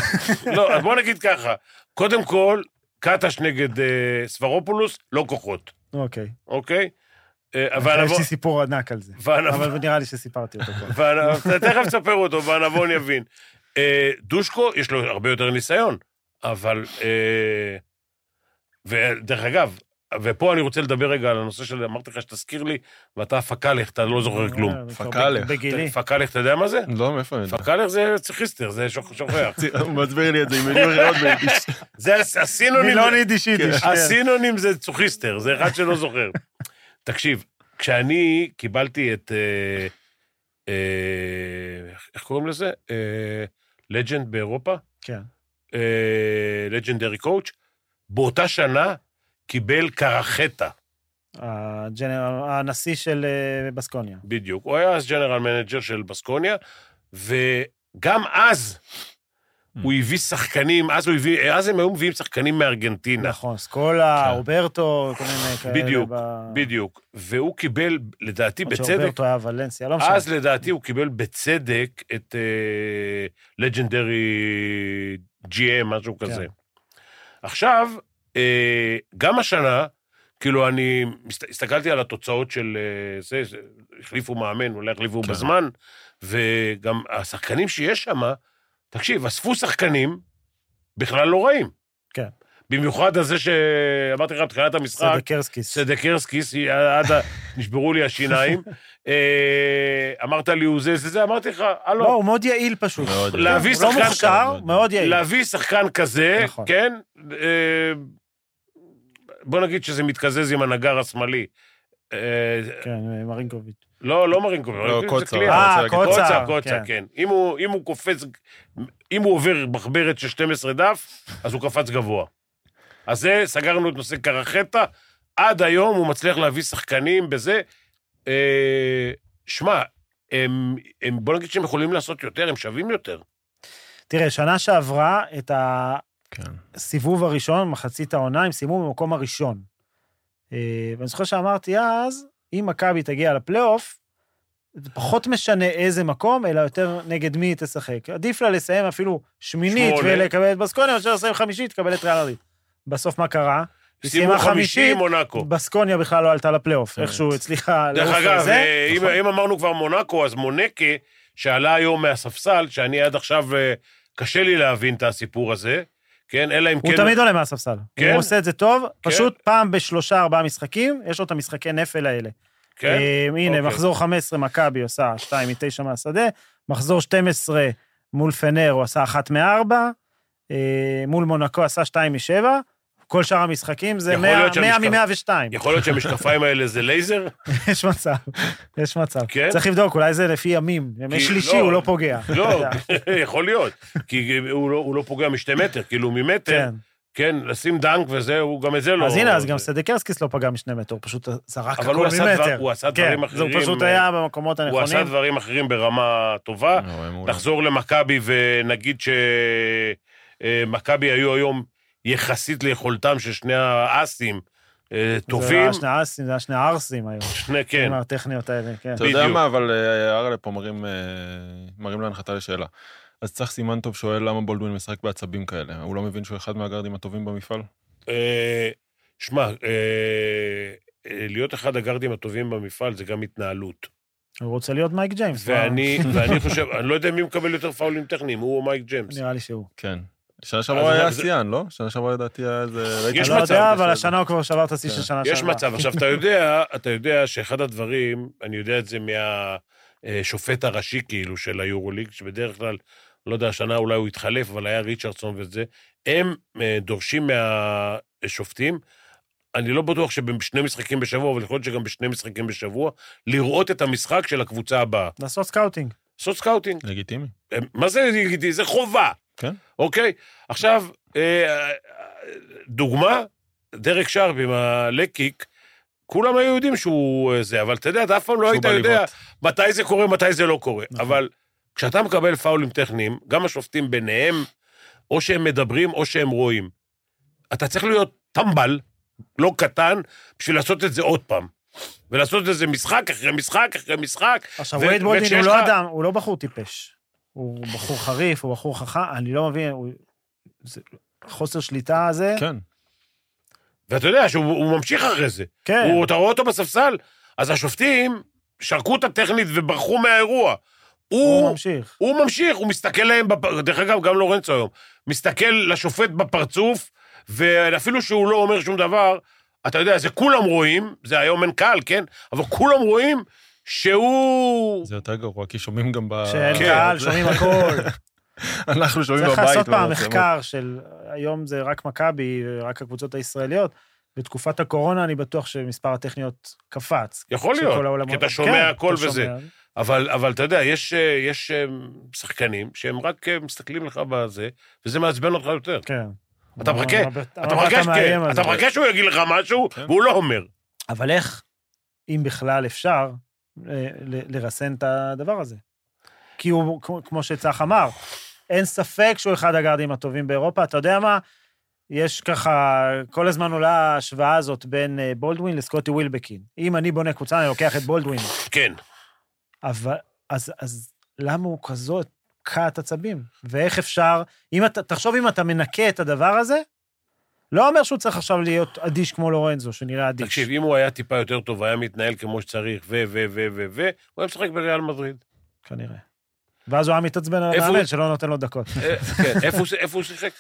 Speaker 2: לא, אז בוא נגיד ככה. קודם כל, קטש נגד אה, סברופולוס, לא כוחות, אוקיי?
Speaker 4: אוקיי.
Speaker 2: אה, אבל
Speaker 4: יש
Speaker 2: נבוא-
Speaker 4: לי סיפור ענק על זה.
Speaker 2: אבל-
Speaker 4: אבל נראה לי שסיפרתי אותו כבר.
Speaker 2: ואנ-
Speaker 4: [laughs]
Speaker 2: אתה תכף תספר אותו, והנבון יבין. אה, דושקו, יש לו הרבה יותר ניסיון, אבל... אה, ודרך אגב, ופה אני רוצה לדבר רגע על הנושא של... אמרתי לך שתזכיר לי, ואתה פקאלך, אתה לא זוכר כלום.
Speaker 4: אה, כבר
Speaker 3: פקאלך.
Speaker 4: בגילי.
Speaker 2: פקאלך, אתה יודע מה זה?
Speaker 3: לא,
Speaker 2: [laughs]
Speaker 3: מאיפה אני יודע?
Speaker 2: פקאלך זה צחיסטר, זה שוכ- שוכח.
Speaker 3: הוא מסביר לי את זה עם מיליון [laughs] רעיון ביידיש.
Speaker 2: זה הס-
Speaker 4: לא
Speaker 2: הסינונים...
Speaker 4: מילון יידיש יידיש. כן.
Speaker 2: הסינונים זה צוחיסטר, זה אחד שלא
Speaker 4: [laughs]
Speaker 2: זוכר. תקשיב, כשאני קיבלתי את... אה, אה, איך קוראים לזה? לג'נד באירופה?
Speaker 4: כן.
Speaker 2: לג'נדרי קואוץ', באותה שנה קיבל קרחטה,
Speaker 4: הג'נרל- הנשיא של אה, בסקוניה.
Speaker 2: בדיוק. הוא היה אז ג'נרל מנג'ר של בסקוניה, וגם אז
Speaker 4: Mm.
Speaker 2: הוא הביא שחקנים, אז הוא הביא, אז הם היו מביאים שחקנים מארגנטינה.
Speaker 4: נכון, סקולה,
Speaker 3: כן.
Speaker 4: רוברטו, כל מיני כאלה.
Speaker 2: בדיוק,
Speaker 4: ב-
Speaker 2: בדיוק. והוא קיבל, לדעתי,
Speaker 4: למרות
Speaker 2: בצדק,
Speaker 4: שרוברטו היה ולנסיה, לא משנה.
Speaker 2: אז לדעתי הוא קיבל בצדק את אה, לג'נדרי GM, משהו
Speaker 4: כן.
Speaker 2: כזה. עכשיו, אה, גם השנה, כאילו, אני הסת- הסתכלתי על התוצאות של אה, זה, זה, החליפו מאמן, אולי החליפו
Speaker 3: כן.
Speaker 2: בזמן, וגם השחקנים שיש שם, תקשיב, אספו שחקנים בכלל לא רעים.
Speaker 4: כן.
Speaker 2: במיוחד על זה שאמרתי לך בתחילת המשחק,
Speaker 4: סדקרסקיס.
Speaker 2: סדקרסקיס, עד ה... אה, נשברו לי השיניים. אה, אמרת לי, הוא זה, זה, זה, אמרתי לך,
Speaker 4: לא,
Speaker 2: הלו,
Speaker 4: הוא מאוד יעיל פשוט.
Speaker 3: מאוד יעיל.
Speaker 2: להביא
Speaker 4: הוא לא
Speaker 2: שחקן
Speaker 4: מוכשר,
Speaker 3: כזה.
Speaker 4: מאוד יעיל.
Speaker 2: להביא שחקן כזה,
Speaker 4: נכון.
Speaker 2: כן? אה, בוא נגיד שזה מתקזז עם הנגר השמאלי. אה,
Speaker 4: כן, מרינקוביץ'.
Speaker 2: לא, לא מרינקוב, מרינקוב זה
Speaker 3: קוצר.
Speaker 2: קליעה.
Speaker 4: אה,
Speaker 3: להגיד-
Speaker 4: קוצר.
Speaker 2: קוצה, קוצה,
Speaker 4: כן.
Speaker 2: כן. אם הוא- אם הוא קופץ, אם הוא עובר מחברת של 12 דף, אז הוא קפץ גבוה. אז זה, סגרנו את נושא קרחטה. עד היום הוא מצליח להביא שחקנים בזה. אה, שמע, הם, הם, בוא נגיד שהם יכולים לעשות יותר, הם שווים יותר.
Speaker 4: תראה, שנה שעברה, את הסיבוב
Speaker 3: כן.
Speaker 4: הראשון, מחצית העונה, הם סיימו במקום הראשון. אה, ואני זוכר שאמרתי אז, אם מכבי תגיע לפלייאוף, זה פחות משנה איזה מקום, אלא יותר נגד מי היא תשחק. עדיף לה לסיים אפילו שמינית
Speaker 2: שמונה.
Speaker 4: ולקבל את בסקוניה, מאשר לסיים חמישית, תקבל את ריאל אריב. בסוף מה קרה? היא סיימה חמישית,
Speaker 2: עם מונאקו.
Speaker 4: בסקוניה בכלל לא עלתה לפלייאוף,
Speaker 3: כן.
Speaker 4: איכשהו הצליחה
Speaker 2: דרך
Speaker 4: לעוף
Speaker 2: אגב,
Speaker 4: לזה.
Speaker 2: אה, אם, אם אמרנו כבר מונאקו, אז מונקה, שעלה היום מהספסל, שאני עד עכשיו, אה, קשה לי להבין את הסיפור הזה, כן? אלא אם
Speaker 4: הוא
Speaker 2: כן...
Speaker 4: תמיד עולה מהספסל.
Speaker 2: כן.
Speaker 4: הוא עושה את זה טוב, פשוט פעם בשלושה ארבעה משחקים, יש לו את המשחקי נפל האלה.
Speaker 2: כן?
Speaker 4: אה, הנה,
Speaker 2: אוקיי.
Speaker 4: מחזור 15 מכבי עושה 2 מ-9 מהשדה, מחזור 12 מול פנר הוא עשה 1 מ-4, מול מונקו עשה 2 מ-7, כל שאר המשחקים זה
Speaker 2: יכול להיות
Speaker 4: 100
Speaker 2: שהמשקל-
Speaker 4: מ-102.
Speaker 2: יכול להיות שהמשקפיים האלה זה לייזר?
Speaker 4: [laughs] יש מצב, יש מצב.
Speaker 2: כן?
Speaker 4: צריך לבדוק, אולי זה לפי ימים. ימי
Speaker 2: כי-
Speaker 4: שלישי
Speaker 2: לא.
Speaker 4: הוא לא פוגע. [laughs] אתה
Speaker 2: לא,
Speaker 4: יודע,
Speaker 2: יכול להיות. כי הוא לא- הוא לא פוגע משתי מטר, כאילו ממטר,
Speaker 4: כן.
Speaker 2: כן, לשים דנק וזה, הוא גם את זה לא...
Speaker 4: אז הנה, אז גם
Speaker 2: זה-
Speaker 4: סדקרסקיס לא פגע משני מטר, הוא פשוט זרק
Speaker 2: אבל
Speaker 4: הכל
Speaker 2: הוא
Speaker 4: ממטר.
Speaker 2: עשה דבר- הוא עשה דברים
Speaker 4: כן, זה הוא
Speaker 2: אחרים,
Speaker 4: פשוט
Speaker 2: אה,
Speaker 4: היה במקומות
Speaker 2: הוא עשה
Speaker 4: הנכונים.
Speaker 2: דברים אחרים ברמה טובה.
Speaker 4: נכון.
Speaker 3: לא, הם מעולים.
Speaker 2: נחזור למכבי ונגיד שמכבי היו היום יחסית ליכולתם של שני האסים אה,
Speaker 4: זה
Speaker 2: טובים.
Speaker 4: היה שני אסים, זה היה שני ערסים היום.
Speaker 2: שני, כן.
Speaker 4: כן. הטכניות האלה, כן.
Speaker 3: אתה יודע
Speaker 2: בדיוק.
Speaker 3: מה, אבל אה, ארלה פה מרים, אה, מרים להנחתה לשאלה. אז צריך סימן טוב שואל למה בולדווין משחק בעצבים כאלה. הוא לא מבין שהוא אחד מהגארדים הטובים במפעל?
Speaker 2: אה, שמע, אה, אה, להיות אחד הגארדים הטובים במפעל זה גם התנהלות.
Speaker 4: הוא רוצה להיות מייק ג'יימס. מה? [laughs]
Speaker 2: ואני ואני חושב, אני לא יודע מי מקבל יותר פאולים טכניים, הוא או מייק ג'יימס.
Speaker 4: [laughs] נראה לי שהוא.
Speaker 3: כן. שנה
Speaker 2: אז
Speaker 3: שעברה היה
Speaker 2: זה-
Speaker 3: שיאן, לא? שנה שעברה לדעתי היה איזה...
Speaker 2: יש
Speaker 4: אני לא
Speaker 2: מצב,
Speaker 4: יודע, אבל השנה הוא כבר שבר את השיא של
Speaker 3: כן.
Speaker 4: שנה שעברה.
Speaker 2: יש מצב. עכשיו, אתה יודע, אתה יודע שאחד הדברים, אני יודע את זה מהשופט הראשי, כאילו, של היורוליג, שבדרך כלל, לא יודע, השנה אולי הוא התחלף, אבל היה ריצ'רדסון וזה, הם אה, דורשים מהשופטים, אני לא בטוח שבשני משחקים בשבוע, אבל יכול להיות שגם בשני משחקים בשבוע, לראות את המשחק של הקבוצה הבאה.
Speaker 4: לעשות סקאוטינג.
Speaker 2: לעשות סקאוטינג.
Speaker 3: לגיטימי.
Speaker 2: הם- מה זה לגיטימי? זה חובה.
Speaker 3: כן.
Speaker 2: אוקיי? עכשיו, אה, אה, דוגמה, דרק שרפ עם הלקיק, כולם היו יודעים שהוא אה, זה, אבל אתה יודע, אתה אף פעם לא
Speaker 3: שהוא
Speaker 2: היית
Speaker 3: בליבות.
Speaker 2: יודע מתי זה קורה, מתי זה לא קורה.
Speaker 4: נכון.
Speaker 2: אבל כשאתה מקבל פאולים טכניים, גם השופטים ביניהם, או שהם מדברים או שהם רואים. אתה צריך להיות טמבל, לא קטן, בשביל לעשות את זה עוד פעם. ולעשות את זה משחק אחרי משחק אחרי משחק.
Speaker 4: עכשיו,
Speaker 2: ו-
Speaker 4: וייד בולדין הוא
Speaker 2: וכשיש
Speaker 4: לא
Speaker 2: לך-
Speaker 4: אדם, הוא לא בחור טיפש. הוא בחור חריף, הוא בחור חכם, אני לא מבין, הוא... זה- חוסר שליטה הזה.
Speaker 3: כן.
Speaker 2: ואתה יודע שהוא הוא ממשיך אחרי זה.
Speaker 4: כן.
Speaker 2: הוא, אתה רואה אותו בספסל, אז השופטים שרקו את הטכנית וברחו מהאירוע.
Speaker 4: הוא
Speaker 2: הוא,
Speaker 4: ממשיך.
Speaker 2: הוא ממשיך, הוא מסתכל להם, בפ... דרך אגב, גם לורנצו היום, מסתכל לשופט בפרצוף, ואפילו שהוא לא אומר שום דבר, אתה יודע, זה כולם רואים, זה היום אין קהל, כן? אבל כולם רואים שהוא...
Speaker 3: זה יותר גרוע, כי שומעים גם ב...
Speaker 4: שאין
Speaker 2: כן,
Speaker 4: קהל,
Speaker 3: זה-
Speaker 4: שומעים
Speaker 2: [laughs]
Speaker 4: הכל.
Speaker 3: אנחנו שומעים
Speaker 4: צריך
Speaker 3: בבית.
Speaker 4: לעשות פעם
Speaker 3: במצלמות.
Speaker 4: מחקר של, היום זה רק מכבי, רק הקבוצות הישראליות. בתקופת הקורונה אני בטוח שמספר הטכניות קפץ.
Speaker 2: יכול
Speaker 4: של
Speaker 2: להיות,
Speaker 4: כל העולמות.
Speaker 2: כי אתה שומע
Speaker 4: כן,
Speaker 2: הכל
Speaker 4: אתה
Speaker 2: וזה.
Speaker 4: שומע.
Speaker 2: אבל, אבל אתה יודע, יש, אה, יש אה, שחקנים שהם רק אה, מסתכלים לך בזה, וזה מעצבן אותך יותר.
Speaker 4: כן.
Speaker 2: אתה מחכה,
Speaker 4: המבט-
Speaker 2: אתה
Speaker 4: המבט
Speaker 2: מרגיש,
Speaker 4: המאיים
Speaker 2: כן,
Speaker 4: הזה.
Speaker 2: אתה מרגיש שהוא יגיד לך משהו,
Speaker 3: כן.
Speaker 2: והוא לא אומר.
Speaker 4: אבל איך, אם בכלל אפשר, אה, ל- לרסן את הדבר הזה? כי הוא, כמו- כמו שצח אמר, אין ספק שהוא אחד הגארדים הטובים באירופה. אתה יודע מה? יש ככה, כל הזמן עולה ההשוואה הזאת בין אה, בולדווין לסקוטי ווילבקין. אם אני בונה קבוצה, אני לוקח את בולדווין.
Speaker 2: כן.
Speaker 4: אבל, אז, אז למה הוא כזאת קעת עצבים? ואיך אפשר, אם אתה, תחשוב אם אתה מנקה את הדבר הזה, לא אומר שהוא צריך עכשיו להיות אדיש כמו לורנזו, שנראה אדיש.
Speaker 2: תקשיב, אם הוא היה טיפה יותר טוב, היה מתנהל כמו שצריך, ו, ו, ו, ו, ו, הוא היה משחק בריאל מדריד.
Speaker 4: כנראה. ואז הוא היה מתעצבן על
Speaker 2: איפה הוא?
Speaker 4: המאמן שלא נותן לו דקות.
Speaker 2: אה, כן, איפה הוא ש- איפה הוא שיחק?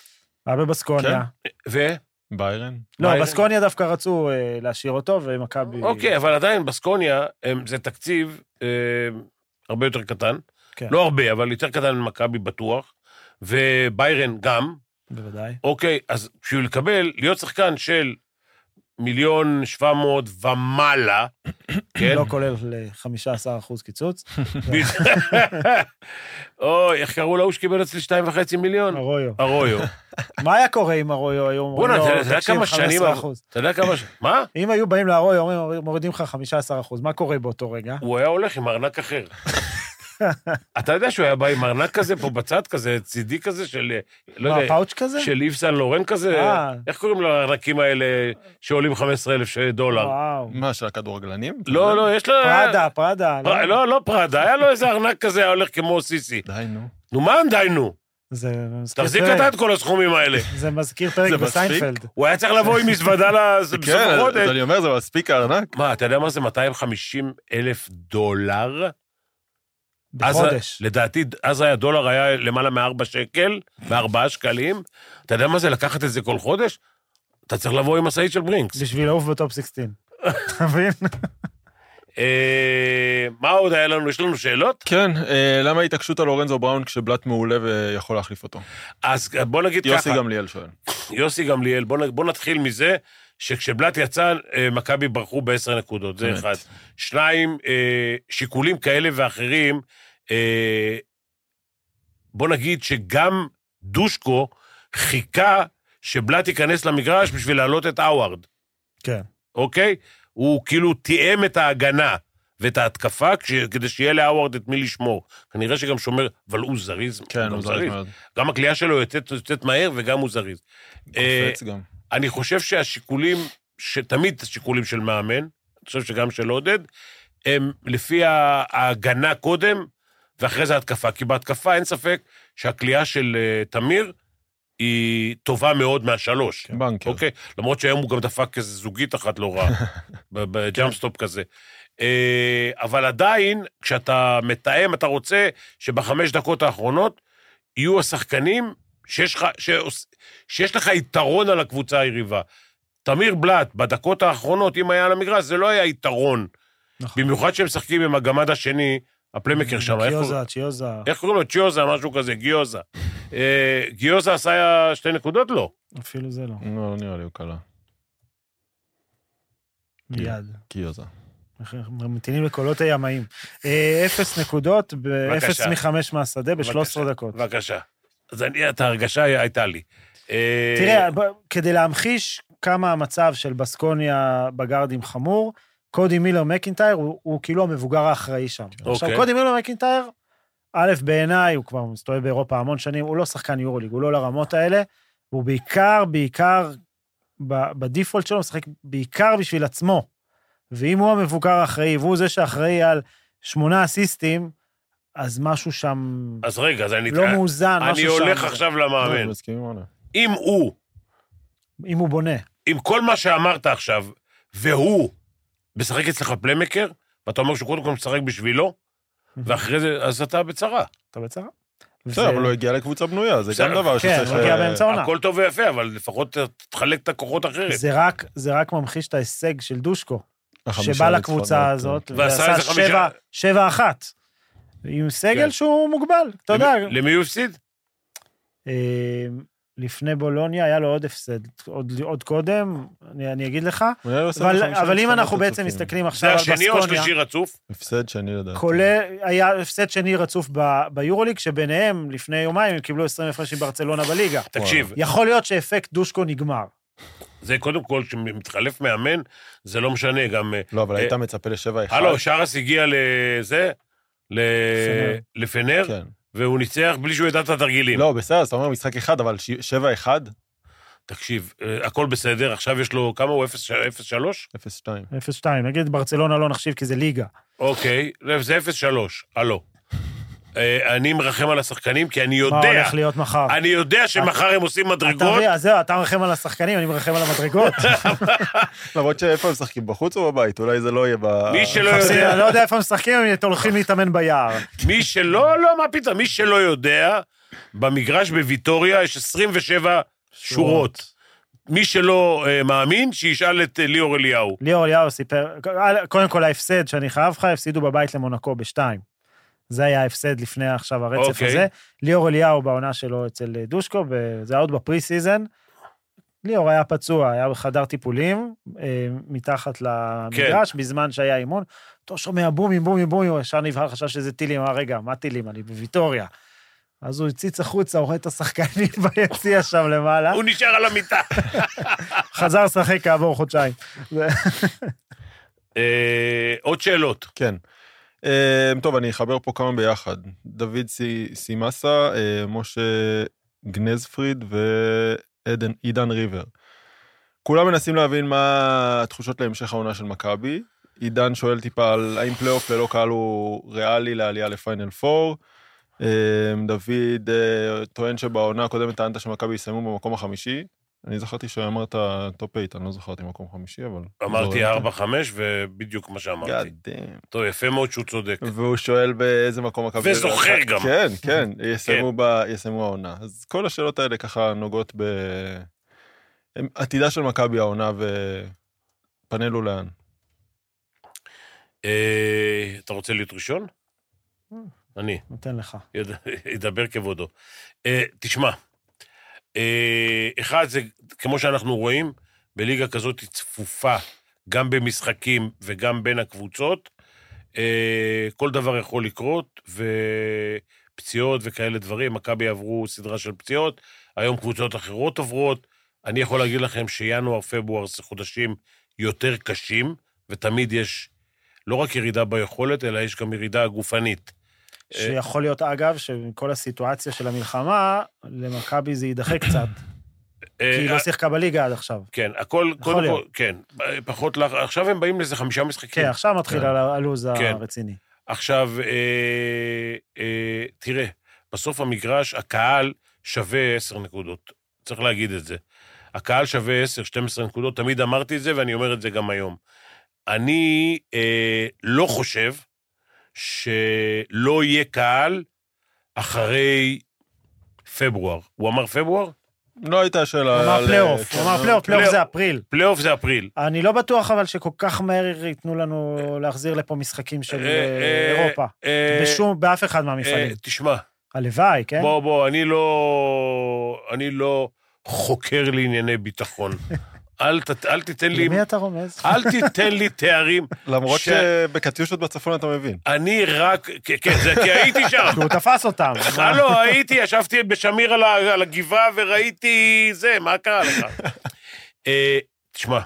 Speaker 4: היה בבסקוניה.
Speaker 2: ו?
Speaker 3: ביירן?
Speaker 2: מה
Speaker 4: לא,
Speaker 2: היה?
Speaker 4: בסקוניה דווקא רצו אה, להשאיר אותו, ומכבי...
Speaker 2: אוקיי, אבל עדיין, בסקוניה, הם- זה תקציב אה, הרבה יותר קטן.
Speaker 4: כן.
Speaker 2: לא הרבה, אבל יותר קטן ממכבי בטוח. וביירן גם,
Speaker 4: בוודאי.
Speaker 2: אוקיי, אז בשביל לקבל, להיות שחקן של מיליון שבע מאות ומעלה, כן?
Speaker 4: לא כולל ל-15%
Speaker 2: [laughs]
Speaker 4: קיצוץ.
Speaker 2: בדיוק. [laughs] אוי, איך קראו להוא שקיבל אצלי שתיים וחצי מיליון?
Speaker 4: ארויו. [laughs]
Speaker 2: ארויו.
Speaker 4: מה היה קורה אם ארויו היו אומרים
Speaker 2: בוא'נה,
Speaker 4: לו,
Speaker 2: אתה- אתה יודע
Speaker 4: לא, תקשיב,
Speaker 2: כמה שנים...
Speaker 4: 15%?
Speaker 2: אתה יודע כמה... ש- מה?
Speaker 4: אם היו באים לארויו, אומרים, מורידים לך 15%, מה קורה באותו רגע?
Speaker 2: הוא היה הולך עם ארנק
Speaker 4: [laughs]
Speaker 2: אחר. אתה יודע שהוא היה בא עם ארנק כזה פה בצד, כזה צידי כזה של... אה, לא
Speaker 4: מה,
Speaker 2: יודע,
Speaker 4: פאוץ' כזה?
Speaker 2: של איב סן לורן כזה?
Speaker 4: אה.
Speaker 2: איך קוראים לארנקים האלה שעולים 15,000 דולר?
Speaker 4: וואו.
Speaker 3: מה, של הכדורגלנים? אתה
Speaker 2: לא,
Speaker 3: יודע?
Speaker 2: לא, יש לו...
Speaker 4: פראדה, פראדה.
Speaker 2: פר- לא, לא פראדה, היה לו איזה ארנק כזה, היה הולך כמו סיסי.
Speaker 3: די, נו.
Speaker 2: נו, מה די נו?
Speaker 4: זה מזכיר
Speaker 2: תחזיק
Speaker 4: פרק-
Speaker 2: אתה את כל הסכומים האלה.
Speaker 4: זה מזכיר פרק
Speaker 3: זה מצחיק.
Speaker 4: בסיינפלד.
Speaker 2: הוא היה צריך לבוא עם מזוודה
Speaker 3: [laughs]
Speaker 2: לס- בסוף
Speaker 3: כן, אז-
Speaker 2: החודש.
Speaker 3: אז אני אומר, זה מספיק הארנק?
Speaker 2: מה, אתה יודע מה זה 250 אלף דולר? אז
Speaker 4: בחודש.
Speaker 2: ה- לדעתי, אז היה- הדולר היה למעלה מארבע שקל, מארבעה שקלים. אתה יודע מה זה לקחת את זה כל חודש? אתה צריך לבוא עם משאית של ברינקס.
Speaker 4: בשביל לעוף בטופ 16. אתה מבין?
Speaker 2: [laughs] אה, מה עוד היה לנו? יש לנו שאלות?
Speaker 3: כן, אה, למה ההתעקשות על אורנזו בראון כשבלאט מעולה ויכול להחליף אותו?
Speaker 2: אז בוא נגיד
Speaker 3: יוסי
Speaker 2: ככה,
Speaker 3: גמליאל שואל.
Speaker 2: יוסי גמליאל, בוא, נ- בוא נתחיל מזה שכשבלאט יצא, אה, מכבי ברחו בעשר נקודות, זה
Speaker 3: אמת.
Speaker 2: אחד. שניים, אה, שיקולים כאלה ואחרים, אה, בוא נגיד שגם דושקו חיכה שבלאט ייכנס למגרש בשביל להעלות את האווארד.
Speaker 4: כן.
Speaker 2: אוקיי? הוא כאילו תיאם את ההגנה ואת ההתקפה כש... כדי שיהיה להאווארד את מי לשמור. כנראה שגם שומר, אבל הוא זריז.
Speaker 3: כן,
Speaker 2: גם
Speaker 3: הוא זריז מאוד.
Speaker 2: גם הכלייה שלו יוצאת, יוצאת מהר וגם הוא זריז. אה,
Speaker 3: קופץ גם.
Speaker 2: אני חושב שהשיקולים, שתמיד השיקולים של מאמן, אני חושב שגם של עודד, הם לפי ה- ההגנה קודם, ואחרי זה ההתקפה. כי בהתקפה אין ספק שהכלייה של אה, תמיר היא טובה מאוד מהשלוש.
Speaker 4: כן.
Speaker 3: בנקר.
Speaker 2: אוקיי? למרות שהיום הוא גם דפק איזה זוגית אחת לא רעה, בג'אמפסטופ כזה. אה, אבל עדיין, כשאתה מתאם, אתה רוצה שבחמש דקות האחרונות יהיו השחקנים שיש לך, שעוש- שיש לך יתרון על הקבוצה היריבה. תמיר בלאט, בדקות האחרונות, אם היה על המגרש, זה לא היה יתרון.
Speaker 4: נכון.
Speaker 2: במיוחד שהם משחקים עם הגמד השני, הפלמקר שם. איך
Speaker 4: צ'יוזה,
Speaker 2: קוראים-
Speaker 4: צ'יוזה.
Speaker 2: איך קוראים לו? צ'יוזה, משהו כזה, גיוזה. אה, גיוזה עשה שתי נקודות? לא.
Speaker 4: אפילו זה לא.
Speaker 3: לא, לא נראה לי הוא קלה.
Speaker 4: מיד.
Speaker 3: קיוזה.
Speaker 4: ממתינים לקולות הימאים. אה, אפס נקודות, באפס
Speaker 2: בבקשה.
Speaker 4: מחמש מהשדה ב-13 דקות.
Speaker 2: בבקשה. אז אני, את ההרגשה הייתה לי. אה,
Speaker 4: תראה, ב- כדי להמחיש כמה המצב של בסקוניה בגארדים חמור, קודי מילר מקינטייר הוא, הוא כאילו המבוגר האחראי שם. עכשיו,
Speaker 2: אוקיי.
Speaker 4: קודי מילר מקינטייר, א', בעיניי, הוא כבר מסתובב באירופה המון שנים, הוא לא שחקן יורוליג, הוא לא לרמות האלה, הוא בעיקר, בעיקר, ב- בדיפולט שלו, משחק בעיקר בשביל עצמו. ואם הוא המבוגר האחראי, והוא זה שאחראי על שמונה אסיסטים, אז משהו שם
Speaker 2: אז רגע, אז אני... אה,
Speaker 4: לא מאוזן, משהו
Speaker 2: אני
Speaker 4: שם.
Speaker 2: הולך עכשיו למאמן.
Speaker 3: לא, מסכים עם עונה.
Speaker 2: אם הוא,
Speaker 4: אם הוא בונה.
Speaker 2: עם כל מה שאמרת עכשיו, והוא משחק אצלך פלמקר, ואתה אומר שהוא קודם כל משחק בשבילו, ואחרי זה, אז אתה בצרה.
Speaker 4: אתה בצרה.
Speaker 3: בסדר, אבל לא הוא הגיע לקבוצה בנויה, זה גם
Speaker 2: בסדר.
Speaker 3: דבר
Speaker 4: כן,
Speaker 3: שצריך...
Speaker 4: הוא הגיע
Speaker 3: אה,
Speaker 4: באמצע עונה.
Speaker 2: הכל טוב ויפה, אבל לפחות תחלק את הכוחות אחרת.
Speaker 4: זה רק, זה רק ממחיש את ההישג של דושקו,
Speaker 3: החמישה
Speaker 4: שבא
Speaker 3: ניצחונות,
Speaker 4: לקבוצה
Speaker 3: אה,
Speaker 4: הזאת,
Speaker 2: ועשה
Speaker 4: ועשה
Speaker 2: איזה חמישה-
Speaker 4: שבע, שבע אחת. עם סגל
Speaker 2: כן.
Speaker 4: שהוא מוגבל, אתה יודע.
Speaker 2: למי- למי הוא הפסיד?
Speaker 4: אה, לפני בולוניה היה לו עוד הפסד, עוד, עוד קודם, אני, אני אגיד לך.
Speaker 3: הוא היה לו 25
Speaker 4: אבל, אבל אם
Speaker 3: ניצחונות
Speaker 4: אנחנו בעצם
Speaker 3: רצופים.
Speaker 4: מסתכלים עכשיו
Speaker 2: זה
Speaker 4: על
Speaker 2: השני או
Speaker 4: בסקוניה,
Speaker 2: השלישי רצוף?
Speaker 3: הפסד שני לדעתי.
Speaker 4: כולל, היה הפסד שני רצוף ב- ביורוליג, שביניהם, לפני יומיים, הם קיבלו 20 הפרש עם ברצלונה בליגה.
Speaker 2: תקשיב,
Speaker 4: יכול להיות שאפקט דושקו נגמר.
Speaker 2: זה קודם כל, כשמתחלף מאמן, זה לא משנה, גם... אה,
Speaker 3: לא, אבל היית
Speaker 2: אה,
Speaker 3: מצפה לשבע אחד.
Speaker 2: הלו, שרס הגיע לזה, ל-
Speaker 4: לפנר.
Speaker 2: לפנר,
Speaker 3: כן.
Speaker 2: והוא ניצח בלי שהוא ידע את התרגילים.
Speaker 3: לא, בסדר, אז אתה אומר משחק אחד, אבל ש- שבע אחד?
Speaker 2: תקשיב, אה, הכל בסדר, עכשיו יש לו, כמה הוא? 0-3?
Speaker 3: אפס שתיים.
Speaker 4: 0-2, נגיד ברצלונה לא נחשיב כי זה ליגה.
Speaker 2: אוקיי, לא, זה 0-3, הלו. אה, אני מרחם על השחקנים, כי אני
Speaker 4: מה
Speaker 2: יודע,
Speaker 4: הולך להיות מחר.
Speaker 2: אני יודע שמחר הם עושים
Speaker 4: אתה
Speaker 2: מדרגות,
Speaker 4: מבין, אז זהו, אתה מרחם על השחקנים, אני מרחם על
Speaker 2: [laughs]
Speaker 4: המדרגות.
Speaker 3: למרות שאיפה הם משחקים, בחוץ או בבית? אולי זה לא יהיה ב...
Speaker 2: מי שלא
Speaker 4: אני
Speaker 2: יודע,
Speaker 4: לא יודע איפה הם משחקים, הם הולכים להתאמן ביער.
Speaker 2: מי שלא, לא, מה פתאום, מי שלא יודע, במגרש בוויטוריה יש 27 שורות. מי שלא אה, מאמין, שישאל את אה, ליאור אליהו.
Speaker 4: ליאור אליהו סיפר, קודם כל ההפסד שאני חייב לך, הפסידו בבית למונקו בשתיים. זה היה ההפסד לפני עכשיו הרצף
Speaker 2: אוקיי.
Speaker 4: הזה. ליאור אליהו בעונה שלו אצל אה, דושקו, ב- זה היה עוד בפרי סיזן. ליאור היה פצוע, היה בחדר טיפולים, אה, מתחת
Speaker 2: כן.
Speaker 4: למגרש, בזמן שהיה אימון. אותו שומע בומים, בומים, בומים, הוא ישר נבהל, חשב שזה טילים, אמר, רגע, מה טילים? אני בוויטוריה. אז הוא הציץ החוצה, הוא רואה את השחקנים [laughs] ביציע שם למעלה,
Speaker 2: הוא נשאר על המיטה.
Speaker 4: חזר לשחק כעבור חודשיים. זה-
Speaker 2: אה, עוד שאלות.
Speaker 3: כן. אה, טוב, אני אחבר פה כמה ביחד. דוד סי- סימסה, אה, משה גנזפריד ועידן ריבר. כולם מנסים להבין מה התחושות להמשך העונה של מכבי. עידן שואל טיפה על האם פלייאוף ללא קהל הוא ריאלי לעלייה לפיינל אמ, 4. אה, דוד אה, טוען שבעונה הקודמת טענת שמכבי יסיימו במקום החמישי. אני זכרתי שאמרת טופ 8, אני לא זכרתי מקום חמישי, אבל... לא
Speaker 2: אמרתי 4-5, ובדיוק מה שאמרתי.
Speaker 3: גאדם.
Speaker 2: טוב, יפה מאוד שהוא צודק.
Speaker 3: והוא שואל באיזה מקום מכבי...
Speaker 2: וזוכר גם.
Speaker 3: כן, כן, יסיימו ב- יסיימו העונה. אז כל השאלות האלה ככה נוגעות ב... הם- עתידה של מכבי העונה ופנינו לאן.
Speaker 2: אה, אתה רוצה להיות ראשון? אני.
Speaker 4: נותן לך.
Speaker 2: יד- ידבר כבודו. אה, תשמע, אה, אחד, זה כמו שאנחנו רואים, בליגה כזאת היא צפופה, גם במשחקים וגם בין הקבוצות. אה, כל דבר יכול לקרות, ופציעות וכאלה דברים. מכבי עברו סדרה של פציעות, היום קבוצות אחרות עוברות. אני יכול להגיד לכם שינואר-פברואר זה חודשים יותר קשים, ותמיד יש לא רק ירידה ביכולת, אלא יש גם ירידה גופנית. אה,
Speaker 4: שיכול להיות, אגב, שמכל הסיטואציה של המלחמה, למכבי זה יידחה קצת, כי היא
Speaker 2: אה,
Speaker 4: לא שיחקה בליגה עד עכשיו.
Speaker 2: כן, הכל, קודם כל,
Speaker 4: להיות.
Speaker 2: כן, פחות לך, עכשיו הם באים לאיזה חמישה משחקים.
Speaker 4: כן, עכשיו מתחיל
Speaker 3: כן.
Speaker 4: ה- הלו"ז
Speaker 2: כן.
Speaker 4: הרציני.
Speaker 2: עכשיו, אה, אה, תראה, בסוף המגרש, הקהל שווה 10 נקודות. צריך להגיד את זה. הקהל שווה 10, 12 נקודות, תמיד אמרתי את זה ואני אומר את זה גם היום. אני אה, לא חושב שלא יהיה קהל אחרי פברואר. הוא אמר פברואר?
Speaker 3: לא הייתה שאלה...
Speaker 4: הוא אמר
Speaker 3: על-
Speaker 4: פלייאוף,
Speaker 3: כן,
Speaker 4: הוא אמר פלייאוף, פלייאוף זה אפריל.
Speaker 2: אה, פלייאוף זה אפריל.
Speaker 4: אני לא בטוח אבל שכל כך מהר ייתנו לנו להחזיר לפה משחקים של
Speaker 2: אה, אה,
Speaker 4: אה, אירופה.
Speaker 2: אה,
Speaker 4: בשום, באף אחד
Speaker 2: אה,
Speaker 4: מהמפעלים.
Speaker 2: תשמע,
Speaker 4: הלוואי, כן?
Speaker 2: בוא, בוא, אני לא, אני לא חוקר לענייני ביטחון. אל, ת, אל תיתן לי...
Speaker 4: למי אתה רומז?
Speaker 2: אל תיתן לי תארים.
Speaker 3: לא, למרות
Speaker 2: ש-
Speaker 3: שבקטיושות בצפון אתה מבין.
Speaker 2: אני רק... כן, כן, זה כי הייתי שם.
Speaker 4: כי הוא תפס אותם.
Speaker 2: הלו, לא הייתי, ישבתי בשמיר על ה- על הגבעה וראיתי זה, מה קרה לך? אה, תשמע,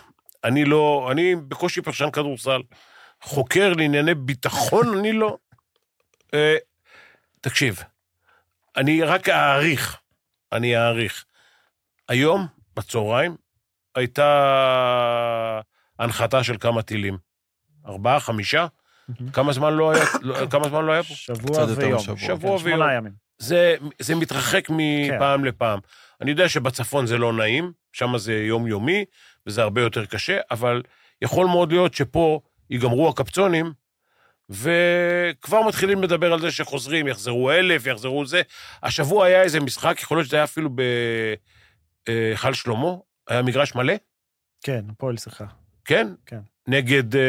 Speaker 2: אני לא, אני בקושי פרשן כדורסל. חוקר לענייני ביטחון, אני לא. אה, תקשיב, אני רק אעריך, אני אעריך. היום, בצהריים, הייתה הנחתה של כמה טילים. ארבעה, חמישה? כמה זמן לא היה, לא- כמה זמן לא היה פה?
Speaker 4: שבוע
Speaker 3: קצת יותר
Speaker 4: ויום.
Speaker 3: משבוע.
Speaker 2: שבוע
Speaker 4: כן,
Speaker 2: ויום.
Speaker 4: שמונה ימים.
Speaker 2: זה, זה מתרחק מפעם כן. לפעם. אני יודע שבצפון זה לא נעים, שם זה יומיומי, וזה הרבה יותר קשה, אבל יכול מאוד להיות שפה ייגמרו הקפצונים, וכבר מתחילים לדבר על זה שחוזרים, יחזרו אלף, יחזרו זה. השבוע היה איזה משחק, יכול להיות שזה היה אפילו בהיכל שלמה, היה מגרש מלא,
Speaker 4: כן, הפועל שיחה.
Speaker 2: כן?
Speaker 4: כן.
Speaker 2: נגד... אה,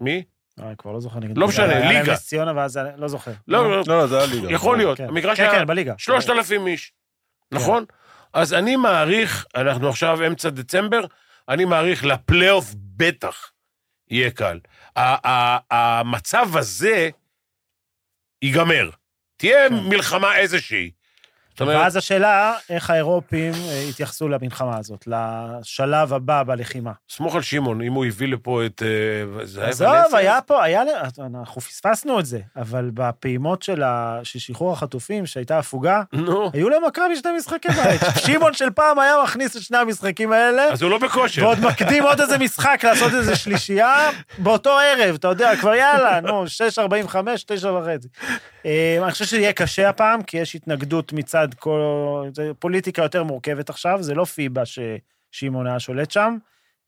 Speaker 2: מי?
Speaker 4: אני כבר לא זוכר. נגד
Speaker 2: לא
Speaker 4: מי זה
Speaker 2: משנה,
Speaker 4: היה. היה
Speaker 2: ליגה.
Speaker 4: נס ציונה ואז, היה- לא זוכר.
Speaker 2: לא, לא,
Speaker 3: לא, לא, זה היה ליגה.
Speaker 2: יכול להיות.
Speaker 4: כן.
Speaker 2: המגרש
Speaker 4: כן,
Speaker 2: היה-
Speaker 4: כן, בליגה.
Speaker 2: 3,000 איש, נכון? אז אני מעריך, אנחנו עכשיו אמצע דצמבר, אני מעריך לפלייאוף בטח יהיה קל. ה- ה- המצב הזה ייגמר. תהיה
Speaker 4: כן.
Speaker 2: מלחמה איזושהי. זאת אומרת,
Speaker 4: ואז השאלה, איך האירופים אה, יתייחסו למלחמה הזאת, לשלב הבא בלחימה.
Speaker 2: סמוך על שמעון, אם הוא הביא לפה את... אה, זה היה
Speaker 4: עזוב,
Speaker 2: ולנסיה?
Speaker 4: היה פה, היה, ל- אנחנו פספסנו את זה, אבל בפעימות של ה- של שחרור החטופים, שהייתה הפוגה,
Speaker 2: נו,
Speaker 4: היו למכבי שני משחקי
Speaker 2: [laughs]
Speaker 4: בית. שמעון של פעם היה מכניס את שני המשחקים האלה,
Speaker 2: אז הוא לא בכושר.
Speaker 4: ועוד מקדים עוד איזה משחק לעשות איזה שלישייה באותו ערב, אתה יודע, כבר יאללה, נו, 6.45, 9 וחצי. אה, אני חושב שיהיה קשה הפעם, כי יש התנגדות מצד כל... זה פוליטיקה יותר מורכבת עכשיו, זה לא פיבה ששמעון היה שולט שם.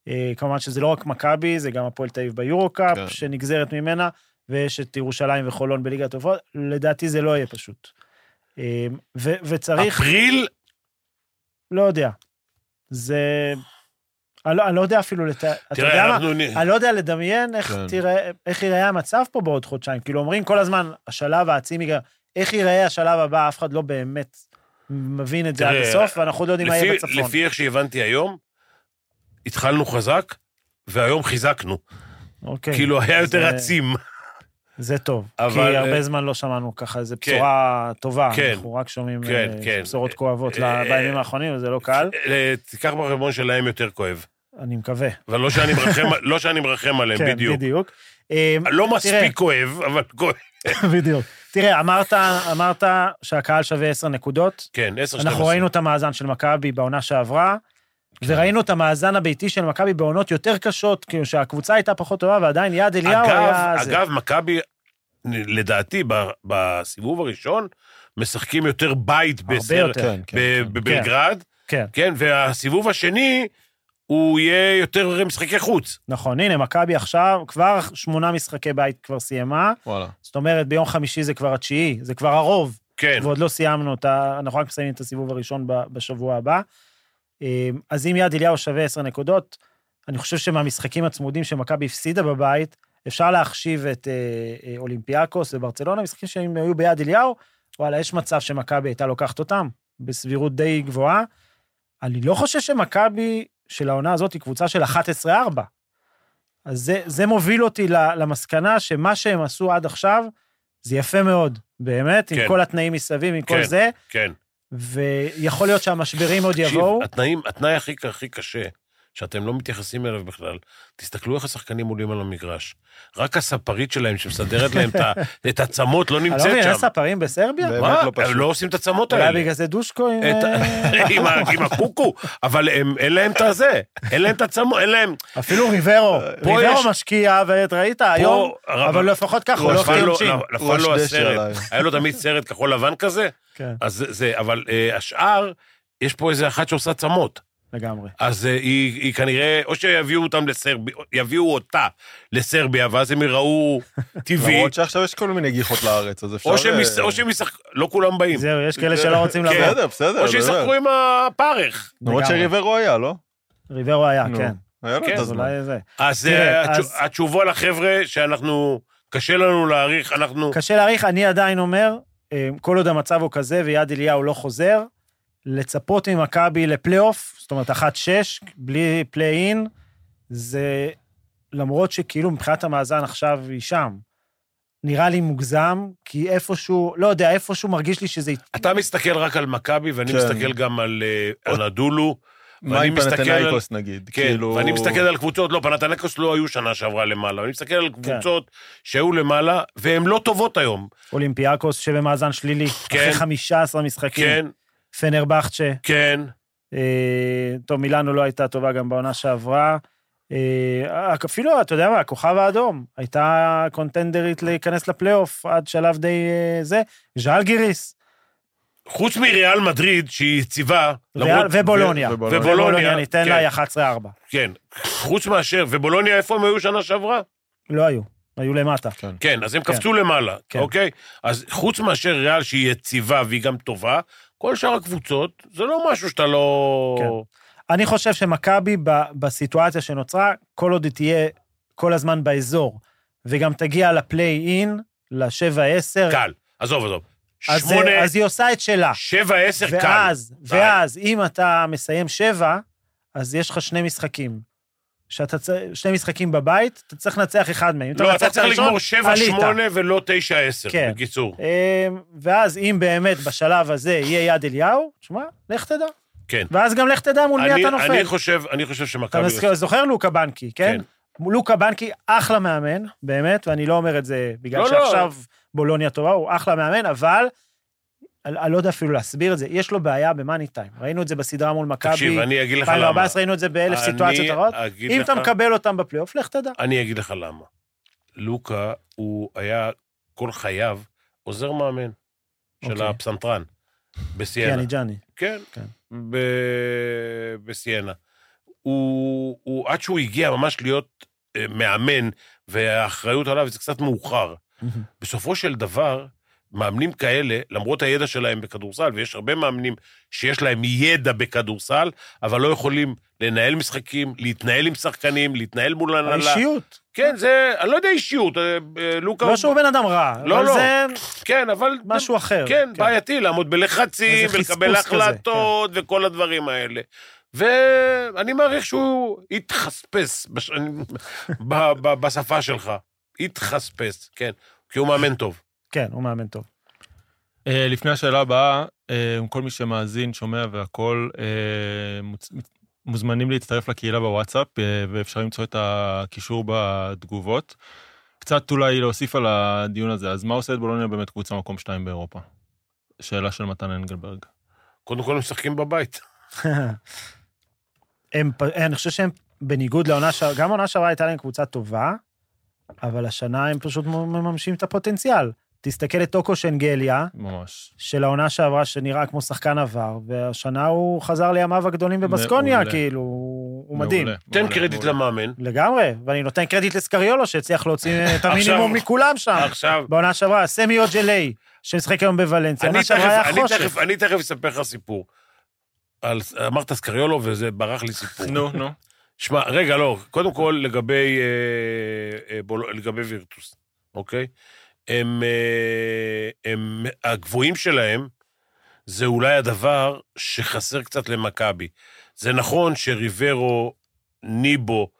Speaker 4: אה, כמובן שזה לא רק מכבי, זה גם הפועל תל אביב ביורו-קאפ,
Speaker 3: כן.
Speaker 4: שנגזרת ממנה, ויש את ירושלים וחולון בליגת העופות. לדעתי זה לא יהיה פשוט. אה, ו- וצריך...
Speaker 2: אפריל,
Speaker 4: לא יודע. זה... אני לא, אני לא יודע אפילו לת... אתה יודע
Speaker 2: תראה,
Speaker 4: מה?
Speaker 2: אנחנו... נ-
Speaker 4: אני לא יודע לדמיין איך,
Speaker 3: כן.
Speaker 4: תראה, איך ייראה המצב פה בעוד חודשיים. כאילו אומרים כל הזמן, השלב העצימי, איך ייראה השלב הבא, אף אחד לא באמת מבין את זה עד
Speaker 2: תראה,
Speaker 4: הסוף, ואנחנו עוד לא יודעים מה יהיה
Speaker 2: לפי,
Speaker 4: בצפון.
Speaker 2: לפי איך שהבנתי היום, התחלנו חזק, והיום חיזקנו.
Speaker 4: אוקיי,
Speaker 2: כאילו, היה יותר
Speaker 4: זה-
Speaker 2: עצים.
Speaker 4: זה טוב,
Speaker 2: אבל,
Speaker 4: כי הרבה
Speaker 2: אה,
Speaker 4: זמן לא שמענו ככה איזה
Speaker 2: כן.
Speaker 4: בשורה טובה,
Speaker 2: כן.
Speaker 4: אנחנו רק שומעים
Speaker 2: כן,
Speaker 4: אה,
Speaker 2: כן.
Speaker 4: בשורות כואבות
Speaker 2: אה,
Speaker 4: ל- בימים האחרונים, וזה לא קל,
Speaker 2: [laughs] אה, תיקח בחשבון שלהם יותר כואב.
Speaker 4: אני מקווה.
Speaker 2: אבל לא שאני מרחם- לא שאני מרחם עליהם,
Speaker 4: כן,
Speaker 2: כן. בדיוק.
Speaker 4: בדיוק. אה,
Speaker 2: לא
Speaker 4: תראה.
Speaker 2: מספיק כואב, אבל כואב.
Speaker 4: [laughs] בדיוק. תראה, אמרת, אמרת שהקהל שווה 10 נקודות.
Speaker 2: כן, 10 12.
Speaker 4: אנחנו ראינו את המאזן של מכבי בעונה שעברה,
Speaker 2: כן.
Speaker 4: וראינו את המאזן הביתי של מכבי בעונות יותר קשות, כאילו שהקבוצה הייתה פחות טובה, ועדיין יעד אליהו היה...
Speaker 2: אגב,
Speaker 4: זה.
Speaker 2: אגב, מכבי, לדעתי, ב- בסיבוב הראשון, משחקים יותר בית
Speaker 4: הרבה
Speaker 2: בעשר-
Speaker 4: יותר.
Speaker 3: כן, כן.
Speaker 2: ב-
Speaker 3: כן.
Speaker 2: בבלגרד,
Speaker 4: כן.
Speaker 2: כן, והסיבוב השני, הוא יהיה יותר משחקי חוץ.
Speaker 4: נכון, הנה, מכבי עכשיו, כבר שמונה משחקי בית כבר סיימה,
Speaker 3: וואלה.
Speaker 4: זאת אומרת, ביום חמישי זה כבר התשיעי, זה כבר הרוב,
Speaker 2: כן,
Speaker 4: ועוד לא סיימנו את ה... אנחנו רק מסיימים את הסיבוב הראשון ב- בשבוע הבא. אה, אז אם יד אליהו שווה 10 נקודות, אני חושב שמהמשחקים הצמודים שמכבי הפסידה בבית, אפשר להחשיב את אה, אה, אולימפיאקוס וברצלונה, משחקים שהם היו ביד אליהו, וואלה, יש מצב שמכבי הייתה לוקחת אותם, בסבירות די גבוהה. אני לא חושב שמכבי של העונה הזאת היא קבוצה של 11-4. אז זה, זה מוביל אותי ל- למסקנה שמה שהם עשו עד עכשיו, זה יפה מאוד, באמת, כן.
Speaker 2: כן.
Speaker 4: עם כל התנאים מסביב, עם כן. כל
Speaker 2: כן.
Speaker 4: זה,
Speaker 2: כן.
Speaker 4: ויכול להיות שהמשברים עוד יבואו.
Speaker 2: התנאים, התנאי הכי, הכי קשה, שאתם לא מתייחסים אליו בכלל, תסתכלו איך השחקנים עולים על המגרש. רק הספרית שלהם שמסדרת להם את
Speaker 4: [laughs]
Speaker 2: ה- את הצמות לא
Speaker 4: אני לא
Speaker 2: נמצאת
Speaker 4: מבין,
Speaker 2: שם.
Speaker 4: אין ספרים בסרביה?
Speaker 5: באמת
Speaker 2: מה?
Speaker 5: לא פשוט.
Speaker 2: הם לא עושים את הצמות
Speaker 4: אולי
Speaker 2: האלה.
Speaker 4: בגלל זה דושקו עם...
Speaker 2: את- [laughs]
Speaker 4: אה,
Speaker 2: עם ה- עם הקוקו, אבל הם- אין להם את הזה, אין להם את הצמות, אין להם...
Speaker 4: אפילו ריברו.
Speaker 2: פה יש-
Speaker 4: ריברו משקיע, וראית היום,
Speaker 2: הרב-
Speaker 4: אבל לפחות ככה, הוא
Speaker 2: הוא
Speaker 4: לא
Speaker 2: נפל
Speaker 4: עושה
Speaker 2: לו-
Speaker 4: עונשין.
Speaker 2: נפל לו
Speaker 5: ראש דשא
Speaker 2: לא הסרט,
Speaker 5: עליי.
Speaker 2: היה לו תמיד סרט כחול לבן כזה,
Speaker 4: כן,
Speaker 2: אז זה- זה, אבל אה, השאר, יש פה איזה אחת שעושה צמות.
Speaker 4: לגמרי.
Speaker 2: אז אה, היא, היא כנראה, או שיביאו אותם לסרביה, יביאו אותה לסרביה, ואז
Speaker 5: [laughs]
Speaker 2: הם יראו טבעי,
Speaker 5: למרות שעכשיו יש כל מיני גיחות לארץ, אז אפשר...
Speaker 2: או שהם
Speaker 5: אה,
Speaker 2: יס- או שהם ישחקו, לא כולם באים,
Speaker 4: זהו, יש כאלה שלא רוצים
Speaker 2: כן.
Speaker 4: לבוא.
Speaker 5: בסדר, בסדר.
Speaker 3: לא,
Speaker 2: או
Speaker 5: אני
Speaker 2: שישחקו
Speaker 5: אומר.
Speaker 2: עם הפרך.
Speaker 5: למרות
Speaker 4: לגמרי.
Speaker 5: שריברו היה, לא?
Speaker 4: ריברו היה,
Speaker 5: נו,
Speaker 4: כן.
Speaker 5: היה לו
Speaker 2: כן,
Speaker 3: אוקיי,
Speaker 5: את
Speaker 4: אז
Speaker 5: הזמן.
Speaker 4: אולי זה.
Speaker 2: אז
Speaker 4: תראה,
Speaker 2: אה, התשו-
Speaker 4: אז-
Speaker 2: התשובה לחבר'ה שאנחנו, קשה לנו להעריך,
Speaker 5: כן.
Speaker 2: אנחנו,
Speaker 4: קשה להעריך, אני עדיין אומר, אה, כל עוד המצב הוא כזה ויד אליהו לא חוזר, לצפות ממכבי לפלייאוף, זאת אומרת, 1-6, בלי פליי-אין, זה למרות שכאילו מבחינת המאזן עכשיו היא שם. נראה לי מוגזם, כי איפשהו, לא יודע, איפשהו מרגיש לי שזה... ית-
Speaker 2: אתה מסתכל רק על מכבי, ואני
Speaker 5: כן.
Speaker 2: מסתכל גם על אה, אנדולו,
Speaker 5: מה עם
Speaker 2: ואני מסתכל
Speaker 5: פנתנאיקוס נגיד?
Speaker 2: כן,
Speaker 5: כאילו-
Speaker 2: ואני מסתכל על קבוצות, לא, פנתנקוס לא היו שנה שעברה למעלה, אני מסתכל
Speaker 5: כן.
Speaker 2: על קבוצות שהיו למעלה, והן לא טובות היום,
Speaker 4: אולימפיאקוס שבמאזן שלילי,
Speaker 2: כן.
Speaker 4: אחרי 15 משחקים.
Speaker 2: כן,
Speaker 4: פנרבכצ'ה,
Speaker 2: כן.
Speaker 4: אה, טוב, מילאנו לא הייתה טובה גם בעונה שעברה. אה, אפילו, אתה יודע מה, הכוכב האדום הייתה קונטנדרית להיכנס לפלייאוף עד שלב די אה, זה, ז'אל גיריס,
Speaker 2: חוץ מריאל מדריד, שהיא יציבה,
Speaker 4: ריאל-
Speaker 2: למרות...
Speaker 4: ובולוניה.
Speaker 5: ובולוניה.
Speaker 2: ובולוניה,
Speaker 4: ניתן
Speaker 2: כן.
Speaker 4: לה היא 11-4.
Speaker 2: כן, חוץ מאשר, ובולוניה, איפה הם היו שנה שעברה?
Speaker 4: לא היו, היו למטה.
Speaker 5: כן.
Speaker 2: כן, אז הם
Speaker 4: כן.
Speaker 2: קפצו למעלה,
Speaker 4: כן.
Speaker 2: אוקיי? אז חוץ מאשר ריאל, שהיא יציבה והיא גם טובה, כל שאר הקבוצות, זה לא משהו שאתה לא...
Speaker 4: כן. אני חושב שמכבי ב- בסיטואציה שנוצרה, כל עוד היא תהיה כל הזמן באזור, וגם תגיע לפליי אין, ל-7-10,
Speaker 2: קל. עזוב, עזוב.
Speaker 4: כן. אז,
Speaker 2: כן,
Speaker 4: אה,
Speaker 2: שמונה,
Speaker 4: אז היא עושה את שלה.
Speaker 2: שבע, עשר, קל.
Speaker 4: ואז,
Speaker 2: די.
Speaker 4: ואז, אם אתה מסיים שבע, אז יש לך שני משחקים. שאתה צריך, שני משחקים בבית, אתה צריך לנצח אחד מהם. אם
Speaker 2: לא,
Speaker 4: מנצח
Speaker 2: אתה
Speaker 4: את
Speaker 2: צריך
Speaker 4: הראשון,
Speaker 2: לגמור שבע,
Speaker 4: עלית.
Speaker 2: שמונה ולא תשע, עשר,
Speaker 4: כן.
Speaker 2: בקיצור.
Speaker 4: אמ, ואז, אם באמת בשלב הזה יהיה יד אליהו, תשמע, לך תדע.
Speaker 2: כן.
Speaker 4: ואז גם לך תדע מול מי
Speaker 2: אני,
Speaker 4: אתה נופל.
Speaker 2: אני חושב, אני חושב
Speaker 4: אתה
Speaker 2: שמכבי...
Speaker 4: מזכיר- זוכר לוקה בנקי, כן?
Speaker 2: כן.
Speaker 4: לוקה בנקי אחלה מאמן, באמת, ואני לא אומר את זה בגלל
Speaker 2: לא, לא.
Speaker 4: שעכשיו בולוניה טובה, הוא אחלה מאמן, אבל אני אני לא יודע אפילו להסביר את זה, יש לו בעיה במאני טיים. ראינו את זה בסדרה מול מכבי.
Speaker 2: תקשיב, אני אגיד לך למה.
Speaker 4: 2014 ראינו את זה באלף
Speaker 2: אני
Speaker 4: סיטואציות אחרות.
Speaker 2: אגיד
Speaker 4: אם אתה
Speaker 2: לך-
Speaker 4: מקבל אותם בפלייאוף, לך תדע.
Speaker 2: אני אגיד לך למה. לוקה, הוא היה כל חייו עוזר מאמן של
Speaker 4: אוקיי.
Speaker 2: הפסנתרן בסיינה.
Speaker 4: יאני ג'אני.
Speaker 2: כן,
Speaker 4: כן.
Speaker 2: ב... בסיינה. הוא, הוא, עד שהוא הגיע ממש להיות אה, מאמן, והאחריות עליו זה קצת מאוחר. בסופו של דבר, מאמנים כאלה, למרות הידע שלהם בכדורסל, ויש הרבה מאמנים שיש להם ידע בכדורסל, אבל לא יכולים לנהל משחקים, להתנהל עם שחקנים, להתנהל מול הנהלה.
Speaker 4: האישיות.
Speaker 2: כן, זה, אני לא יודע אישיות, אה, אה, לוקה...
Speaker 4: לא שהוא בן אדם רע,
Speaker 2: לא,
Speaker 4: אבל
Speaker 2: לא.
Speaker 4: זה
Speaker 2: כן, אבל...
Speaker 4: משהו אחר.
Speaker 2: כן, בעייתי לעמוד בלחצים,
Speaker 4: איזה חספוס
Speaker 2: ולקבל
Speaker 4: כזה, כן.
Speaker 2: החלטות, וכל הדברים האלה. ואני מעריך שהוא התחספס, בש- [laughs] ב- ב- בשפה שלך. התחספס, כן. כי הוא מאמן טוב.
Speaker 4: כן, הוא מאמן טוב.
Speaker 3: אה, לפני השאלה הבאה, אה, כל מי שמאזין, שומע והכול, אה, מוצ- מוזמנים להצטרף לקהילה בוואטסאפ, אה, ואפשר למצוא את הקישור בתגובות. קצת אולי להוסיף על הדיון הזה, אז מה עושה את בולוניה באמת קבוצה מקום שתיים באירופה? שאלה של מתן אנגלברג.
Speaker 2: קודם כל הם משחקים בבית.
Speaker 4: הם, פ- אה, אני חושב שהם, בניגוד לעונה שעברה, גם העונה שעברה הייתה להם קבוצה טובה, אבל השנה הם פשוט מממשים את הפוטנציאל. תסתכל את טוקו שנגליה,
Speaker 3: ממש.
Speaker 4: של העונה שעברה, שנראה כמו שחקן עבר, והשנה הוא חזר לימיו הגדולים בבסקוניה,
Speaker 3: מעולה.
Speaker 4: כאילו, הוא מדהים.
Speaker 3: מעולה,
Speaker 2: תן
Speaker 3: מעולה,
Speaker 2: קרדיט
Speaker 3: מעולה.
Speaker 2: למאמן.
Speaker 4: לגמרי, ואני נותן קרדיט לסקריולו, שהצליח להוציא את
Speaker 2: עכשיו-
Speaker 4: המינימום מכולם שם,
Speaker 2: עכשיו,
Speaker 4: בעונה שעברה, סמי אוג'לי, שמשחק היום בוולנסיה,
Speaker 2: אני
Speaker 4: העונה שעברה
Speaker 2: תכף-
Speaker 4: היה
Speaker 2: אני
Speaker 4: חושך.
Speaker 2: תכף- אני תכף אספר לך סיפור. על- אמרת סקריולו וזה ברח לי סיפור.
Speaker 3: נו, נו.
Speaker 2: שמע, רגע, לא, קודם כל לגבי, אה, אה, בול, לגבי וירטוס, אוקיי? הם, אה, הם, הגבוהים שלהם זה אולי הדבר שחסר קצת למכבי. זה נכון שריברו, ניבו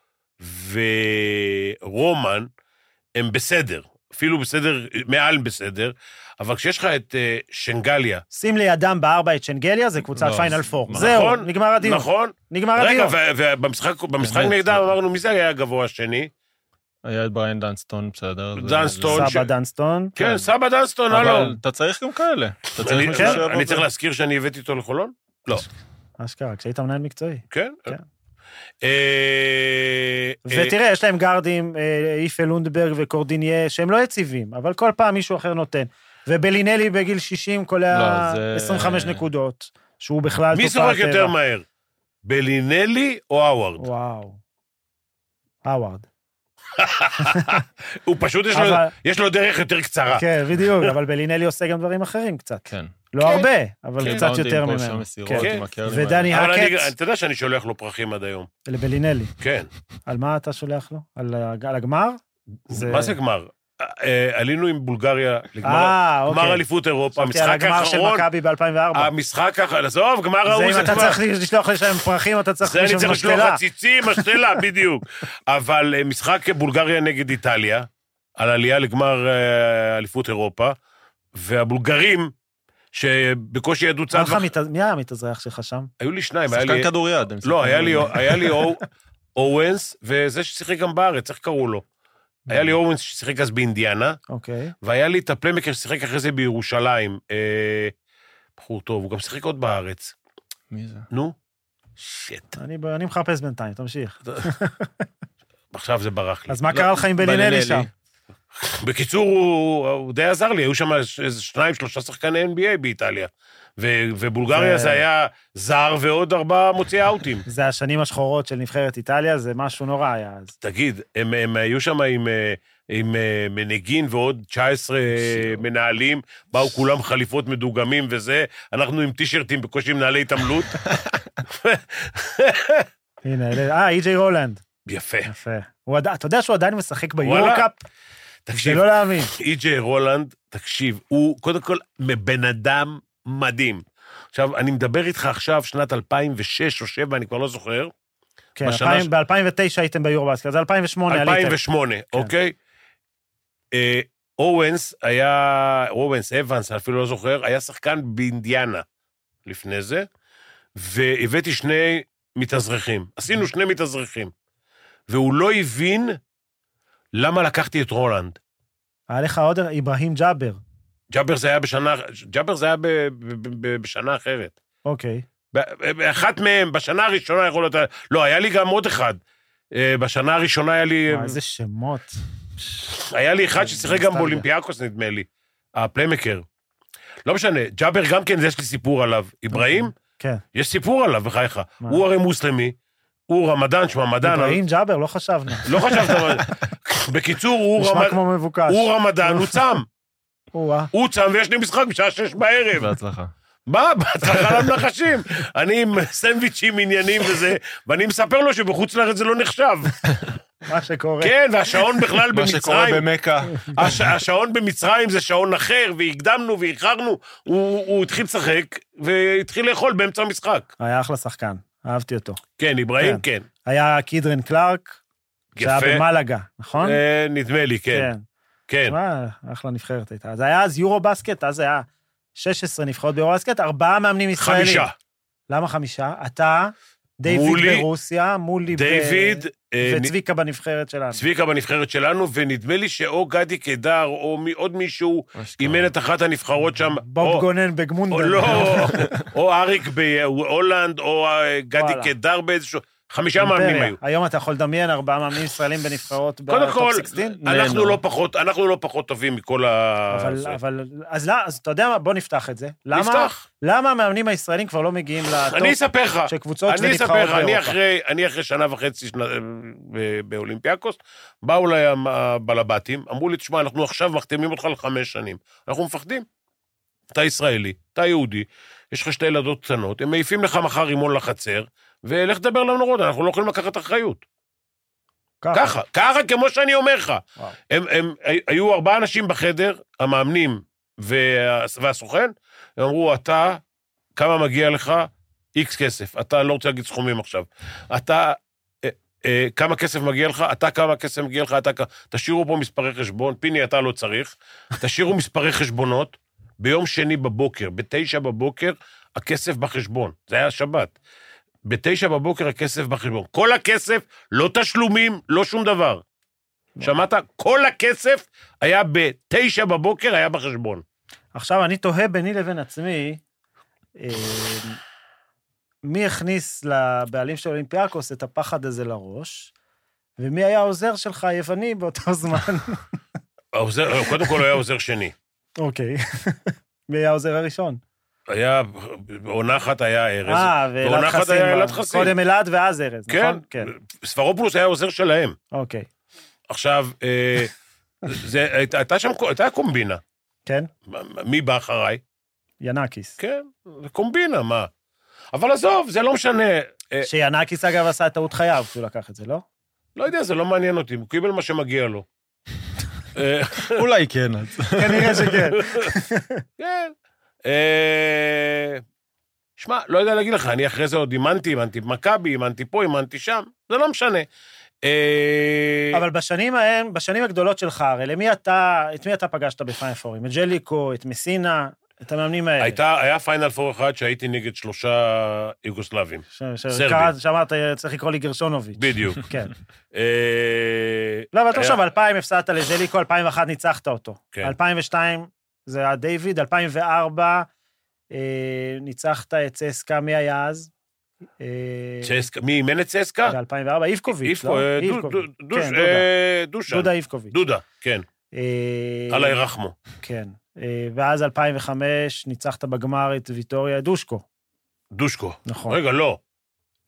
Speaker 2: ורומן הם בסדר, אפילו בסדר, מעל בסדר, אבל כשיש לך את אה, שנגליה,
Speaker 4: שים לידם בארבע את שנגליה, זה קבוצת
Speaker 3: לא,
Speaker 4: פיינל
Speaker 3: זה-
Speaker 4: פור.
Speaker 3: נכון,
Speaker 4: זהו, נגמר הדיון.
Speaker 2: נכון?
Speaker 4: נגמר
Speaker 2: רגע,
Speaker 4: הדיון.
Speaker 2: ו- ובמשחק במשחק
Speaker 3: באמת,
Speaker 2: נגדם
Speaker 3: זה-
Speaker 2: אמרנו, מי זה היה הגבוה השני?
Speaker 3: היה את בריין דנסטון, בסדר. זה-
Speaker 2: דנסטון, ו- ש-
Speaker 4: סבא דנסטון. לא,
Speaker 2: כן, סבא דנסטון, הלו.
Speaker 3: אבל אתה צריך גם כאלה. אתה צריך
Speaker 2: אני-
Speaker 3: מישהו
Speaker 2: כן,
Speaker 3: שיעבוד
Speaker 2: אני
Speaker 3: בזה.
Speaker 2: צריך להזכיר שאני הבאתי אותו לחולון?
Speaker 4: אשכרה, כשהיית מנהל מקצועי.
Speaker 2: כן.
Speaker 4: כן.
Speaker 2: אה, אה,
Speaker 4: ותראה, יש להם גארדים, אה, איפה לונדברג וקורדיניה, שהם לא יציבים, אבל כל פעם מישהו אחר נותן. ובלינלי בגיל 60 קולע
Speaker 3: לא, זה-
Speaker 4: 25 נקודות, שהוא בכלל
Speaker 2: מי
Speaker 4: תופעת
Speaker 2: זורק יותר
Speaker 4: טבע.
Speaker 2: מהר? בלינלי או האווארד?
Speaker 4: וואו. האווארד.
Speaker 2: הוא פשוט, יש לו-
Speaker 4: אבל-
Speaker 2: יש לו דרך יותר קצרה.
Speaker 4: כן, בדיוק, אבל בלינלי עושה גם דברים אחרים קצת.
Speaker 3: כן.
Speaker 4: לא הרבה, אבל
Speaker 3: כן,
Speaker 4: קצת
Speaker 3: ראונדים
Speaker 4: יותר
Speaker 3: פה,
Speaker 4: ממנו.
Speaker 3: שם מסירות
Speaker 4: כן.
Speaker 3: עם הקרלים האלה.
Speaker 4: ודני
Speaker 2: אבל אני-
Speaker 4: האקט,
Speaker 2: אתה יודע שאני שולח לו פרחים עד היום.
Speaker 4: לבלינלי.
Speaker 2: כן.
Speaker 4: על מה אתה שולח לו? על הג- על הגמר?
Speaker 2: מה זה גמר? אה, אה, עלינו עם בולגריה לגמר
Speaker 4: אה, אוקיי.
Speaker 2: גמר אליפות אירופה,
Speaker 4: חשבתי על
Speaker 2: המשחק
Speaker 4: הגמר של
Speaker 2: האחרון.
Speaker 4: מכבי ב-2004.
Speaker 2: המשחק האחרון, עזוב, גמר
Speaker 4: זה
Speaker 2: ההוא
Speaker 4: אם
Speaker 2: זה
Speaker 4: אתה
Speaker 2: כבר...
Speaker 4: צריך לשלוח לשם פרחים, אתה צריך
Speaker 2: זה אני צריך לשלוח
Speaker 4: משתלה.
Speaker 2: עציצים,
Speaker 4: [laughs]
Speaker 2: משתלה, בדיוק. אבל אה, משחק בולגריה נגד איטליה, על עלייה לגמר אה, אליפות אירופה, והבולגרים, שבקושי ידעו צעד...
Speaker 4: לך
Speaker 2: וח-
Speaker 4: מת- מי היה המתאזרח שלך שם?
Speaker 2: היו לי שניים, היה לי...
Speaker 3: שחקן כדוריד. הם
Speaker 2: לא,
Speaker 3: שחקנים
Speaker 2: היה לי-
Speaker 3: מעולים.
Speaker 2: היה לי
Speaker 4: [laughs]
Speaker 2: אור- אורנס, וזה ששיחק גם בארץ, איך קראו לו? היה לי אורנס ששיחק אז באינדיאנה,
Speaker 4: אוקיי.
Speaker 2: והיה לי את הפלמקר ששיחק אחרי זה בירושלים. אה, בחור טוב, הוא גם שיחק עוד בארץ.
Speaker 3: מי זה?
Speaker 2: נו, שיט.
Speaker 4: אני ב- אני מחפש בינתיים,
Speaker 2: אוקיי.
Speaker 4: תמשיך.
Speaker 2: עכשיו זה ברח לי.
Speaker 4: אז מה קרה לך
Speaker 2: לא,
Speaker 4: עם בלינלי
Speaker 3: בלינלי.
Speaker 4: שם?
Speaker 2: בקיצור, הוא, הוא די עזר לי, היו שם איזה שניים, שלושה שחקני NBA באיטליה. ו, ובולגריה
Speaker 4: זה-
Speaker 2: זה... זה היה זר ועוד ארבעה מוציאי אאוטים.
Speaker 4: זה השנים השחורות של נבחרת איטליה, זה משהו נורא היה אז.
Speaker 2: תגיד, הם, הם היו שם עם, אה, עם אה, מנגין ועוד 19 אה, מנהלים, באו כולם חליפות מדוגמים וזה, אנחנו עם טישרטים, בקושי מנהלי התעמלות. [laughs]
Speaker 4: הנה, אלה- אה, אי.ג'יי רולנד.
Speaker 2: יפה.
Speaker 4: יפה. הוא עד- אתה יודע שהוא עדיין משחק
Speaker 2: וואלה.
Speaker 4: ביורקאפ? זה
Speaker 2: תקשיב,
Speaker 4: לא להאמין.
Speaker 2: אי.ג'יי רולנד, תקשיב, הוא קודם כל בן אדם מדהים. עכשיו, אני מדבר איתך עכשיו, שנת 2006 או 2007, אני כבר לא זוכר,
Speaker 4: כן,
Speaker 2: בשנה ש-
Speaker 4: ב-2009 הייתם ביורבאסקי, אז 2008 עליתם.
Speaker 2: 2008, אוקיי? אה, אורנס היה, אורנס, אבנס, אני אפילו לא זוכר, היה שחקן באינדיאנה לפני זה, והבאתי שני מתאזרחים. עשינו שני מתאזרחים. והוא לא הבין למה לקחתי את רולנד.
Speaker 4: היה לך עוד איברהים ג'אבר.
Speaker 2: ג'אבר זה היה בשנה, ג'אבר זה היה ב, ב, ב, ב, בשנה אחרת.
Speaker 4: אוקיי.
Speaker 2: ב- באחת מהם, בשנה הראשונה יכול להיות... לא, היה לי גם עוד אחד. אה, בשנה הראשונה היה לי...
Speaker 4: וואי, איזה שמות.
Speaker 2: היה לי אחד ששיחק גם
Speaker 4: אה, נוסטלגיה.
Speaker 2: באולימפיאקוס, נדמה לי. הפליימקר. לא משנה, ג'אבר גם כן, יש לי סיפור עליו. אברהים,
Speaker 4: כן.
Speaker 2: יש סיפור עליו, בחייך.
Speaker 4: מה?
Speaker 2: הוא הרי מוסלמי, הוא רמדאן, שמע, מדען.
Speaker 4: איברהים ג'אבר, לא חשבנו.
Speaker 2: לא חשבת...
Speaker 4: [laughs]
Speaker 2: אבל- בקיצור, הוא
Speaker 4: נשמע
Speaker 2: רמד-
Speaker 4: כמו מבוקש.
Speaker 2: הוא רמדאן, הוא צם.
Speaker 4: או-אה.
Speaker 2: הוא צם ויש לי משחק בשעה שש בערב. [laughs]
Speaker 3: בהצלחה.
Speaker 2: מה, בהצלחה למנחשים. אני עם סנדוויצ'ים, עניינים וזה, ואני מספר לו שבחוץ לארץ זה לא
Speaker 4: [laughs]
Speaker 2: נחשב.
Speaker 4: מה שקורה.
Speaker 2: כן, והשעון בכלל
Speaker 3: מה שקורה
Speaker 2: במצרים,
Speaker 3: במכה.
Speaker 2: [laughs] הש, השעון במצרים זה שעון אחר, והקדמנו ואיחרנו. הוא, הוא התחיל לשחק והתחיל לאכול באמצע המשחק.
Speaker 4: היה אחלה שחקן, אהבתי אותו.
Speaker 2: כן, אברהים, כן.
Speaker 4: היה קידרן קלארק, שהיה
Speaker 2: יפה.
Speaker 4: במלאגה, נכון?
Speaker 2: אה, נדמה לי, כן. כן.
Speaker 4: מה, אחלה נבחרת הייתה. זה היה אז יורו בסקט, אז היה 16 נבחרות ביורו בסקט, ארבעה מאמנים ישראלים.
Speaker 2: חמישה.
Speaker 4: למה חמישה? אתה, דיוויד
Speaker 2: מולי,
Speaker 4: ברוסיה, מולי ב-
Speaker 2: דיוויד, אה, נ-
Speaker 4: וצביקה בנבחרת שלנו.
Speaker 2: צביקה בנבחרת שלנו, ונדמה לי שאו גדי קידר או מי- עוד מישהו אימן את אחת הנבחרות שם. או- לא,
Speaker 4: בוב גונן בגמונדן. [laughs]
Speaker 2: או לא, או אריק בהולנד, או אה, גדי
Speaker 4: וואלה.
Speaker 2: קדר באיזשהו... חמישה מאמנים
Speaker 4: אימפריה.
Speaker 2: היו.
Speaker 4: היום אתה יכול לדמיין ארבעה מאמנים ישראלים בנבחרות
Speaker 2: קודם כל,
Speaker 4: בטופ 16?
Speaker 2: אנחנו
Speaker 3: נהנו.
Speaker 2: לא פחות, אנחנו לא פחות טובים מכל ה...
Speaker 4: אבל,
Speaker 2: זה.
Speaker 4: אבל, אז לא, אז אתה יודע מה, בוא נפתח את זה. למה,
Speaker 2: נפתח.
Speaker 4: למה המאמנים הישראלים כבר לא מגיעים
Speaker 2: אני
Speaker 4: לטופ
Speaker 2: אספר לך,
Speaker 4: של קבוצות
Speaker 2: אני
Speaker 4: ונבחרות
Speaker 2: אספר לך, אני
Speaker 4: באירופה?
Speaker 2: אחרי, אני אחרי שנה וחצי שנה, ב- באולימפיאקוס, באו אליי המ- הבלבטים, אמרו לי, תשמע, אנחנו עכשיו מחתימים אותך לחמש שנים. אנחנו מפחדים. אתה ישראלי, אתה יהודי, יש לך שתי ילדות קטנות, הם מעיפים לך מחר רימון לחצר, ולך תדבר למנורות, אנחנו לא יכולים לקחת אחריות. ככה, ככה כמו שאני אומר לך.
Speaker 4: וואו.
Speaker 2: הם, הם, היו ארבעה אנשים בחדר, המאמנים וה, והסוכן, הם אמרו, אתה, כמה מגיע לך? איקס כסף. אתה, אני לא רוצה להגיד סכומים עכשיו. אתה, אה, אה, כמה כסף מגיע לך? אתה, כמה כסף מגיע לך? אתה, כ- תשאירו פה מספרי חשבון, פיני, אתה לא צריך. תשאירו מספרי חשבונות. ביום שני בבוקר, בתשע בבוקר, הכסף בחשבון. זה היה שבת. בתשע בבוקר הכסף בחשבון. כל הכסף, לא תשלומים, לא שום דבר. שמעת? כל הכסף היה בתשע בבוקר, היה בחשבון.
Speaker 4: עכשיו, אני תוהה ביני לבין עצמי, אה, מי הכניס לבעלים של אולימפיאקוס את הפחד הזה לראש, ומי היה העוזר שלך היווני באותו [laughs] זמן?
Speaker 2: העוזר, לא, קודם כל היה עוזר שני.
Speaker 4: אוקיי. מי היה העוזר הראשון?
Speaker 2: היה, בעונה אחת היה ארז.
Speaker 4: אה,
Speaker 2: בעונה
Speaker 4: ואלעד
Speaker 2: אחת
Speaker 4: חסין.
Speaker 2: היה
Speaker 4: כבר.
Speaker 2: אלעד חסין.
Speaker 4: קודם אלעד ואז ארז,
Speaker 2: כן,
Speaker 4: נכון? כן.
Speaker 2: ספרופולוס היה עוזר שלהם.
Speaker 4: אוקיי.
Speaker 2: עכשיו, אה, זה, הייתה- הייתה שם, הייתה קומבינה.
Speaker 4: כן?
Speaker 2: מי בא אחריי?
Speaker 4: ינקיס.
Speaker 2: כן, זה קומבינה, מה? אבל עזוב, זה לא משנה. אה,
Speaker 4: שינקיס, אגב, עשה את טעות חייו כשהוא לקח את זה,
Speaker 2: [laughs]
Speaker 4: לא?
Speaker 2: לא יודע, זה לא מעניין אותי, הוא קיבל מה שמגיע לו. אה,
Speaker 3: אולי
Speaker 2: [laughs]
Speaker 3: כן, אז...
Speaker 4: כנראה שכן.
Speaker 2: כן. אה, שמע, לא יודע להגיד לך, אני אחרי זה עוד אימנתי, אימנתי במכבי, אימנתי פה, אימנתי שם, זה לא משנה. אה,
Speaker 4: [laughs] אבל בשנים ההם, בשנים הגדולות שלך, הרי למי אתה, את מי אתה פגשת בפיינל פורים? את ג'ליקו, את מסינה, את המאמנים האלה.
Speaker 2: הייתה, היה פיינל פור אחד שהייתי נגד שלושה
Speaker 4: [laughs]
Speaker 2: יוגוסלבים,
Speaker 4: ש- ש-
Speaker 2: סרבי.
Speaker 4: קראת- שאמרת, צריך לקרוא לי גרשונוביץ'.
Speaker 2: בדיוק.
Speaker 4: כן.
Speaker 2: אה,
Speaker 4: לא, אבל
Speaker 2: היה-
Speaker 4: תחשוב, 2000 הפסדת לג'ליקו, 2001 ניצחת אותו.
Speaker 2: כן.
Speaker 4: 2002 זה היה דיוויד, 2004 אה, ניצחת את צסקה, מי היה אז? אה,
Speaker 2: צסקה, מי אימן את צסקה?
Speaker 4: ב-2004, איבקוביץ',
Speaker 2: איפקו,
Speaker 4: אה, לא?
Speaker 2: אה, דו-
Speaker 4: איבקוביץ'.
Speaker 2: דו- דוש-
Speaker 4: כן,
Speaker 2: אה, דושן.
Speaker 4: דודה איבקוביץ'.
Speaker 2: דודה, כן,
Speaker 4: אה,
Speaker 2: אללה ירחמו.
Speaker 4: כן. אה, ואז 2005 ניצחת בגמר את ויטוריה דושקו,
Speaker 2: דושקו.
Speaker 4: נכון.
Speaker 2: רגע, לא.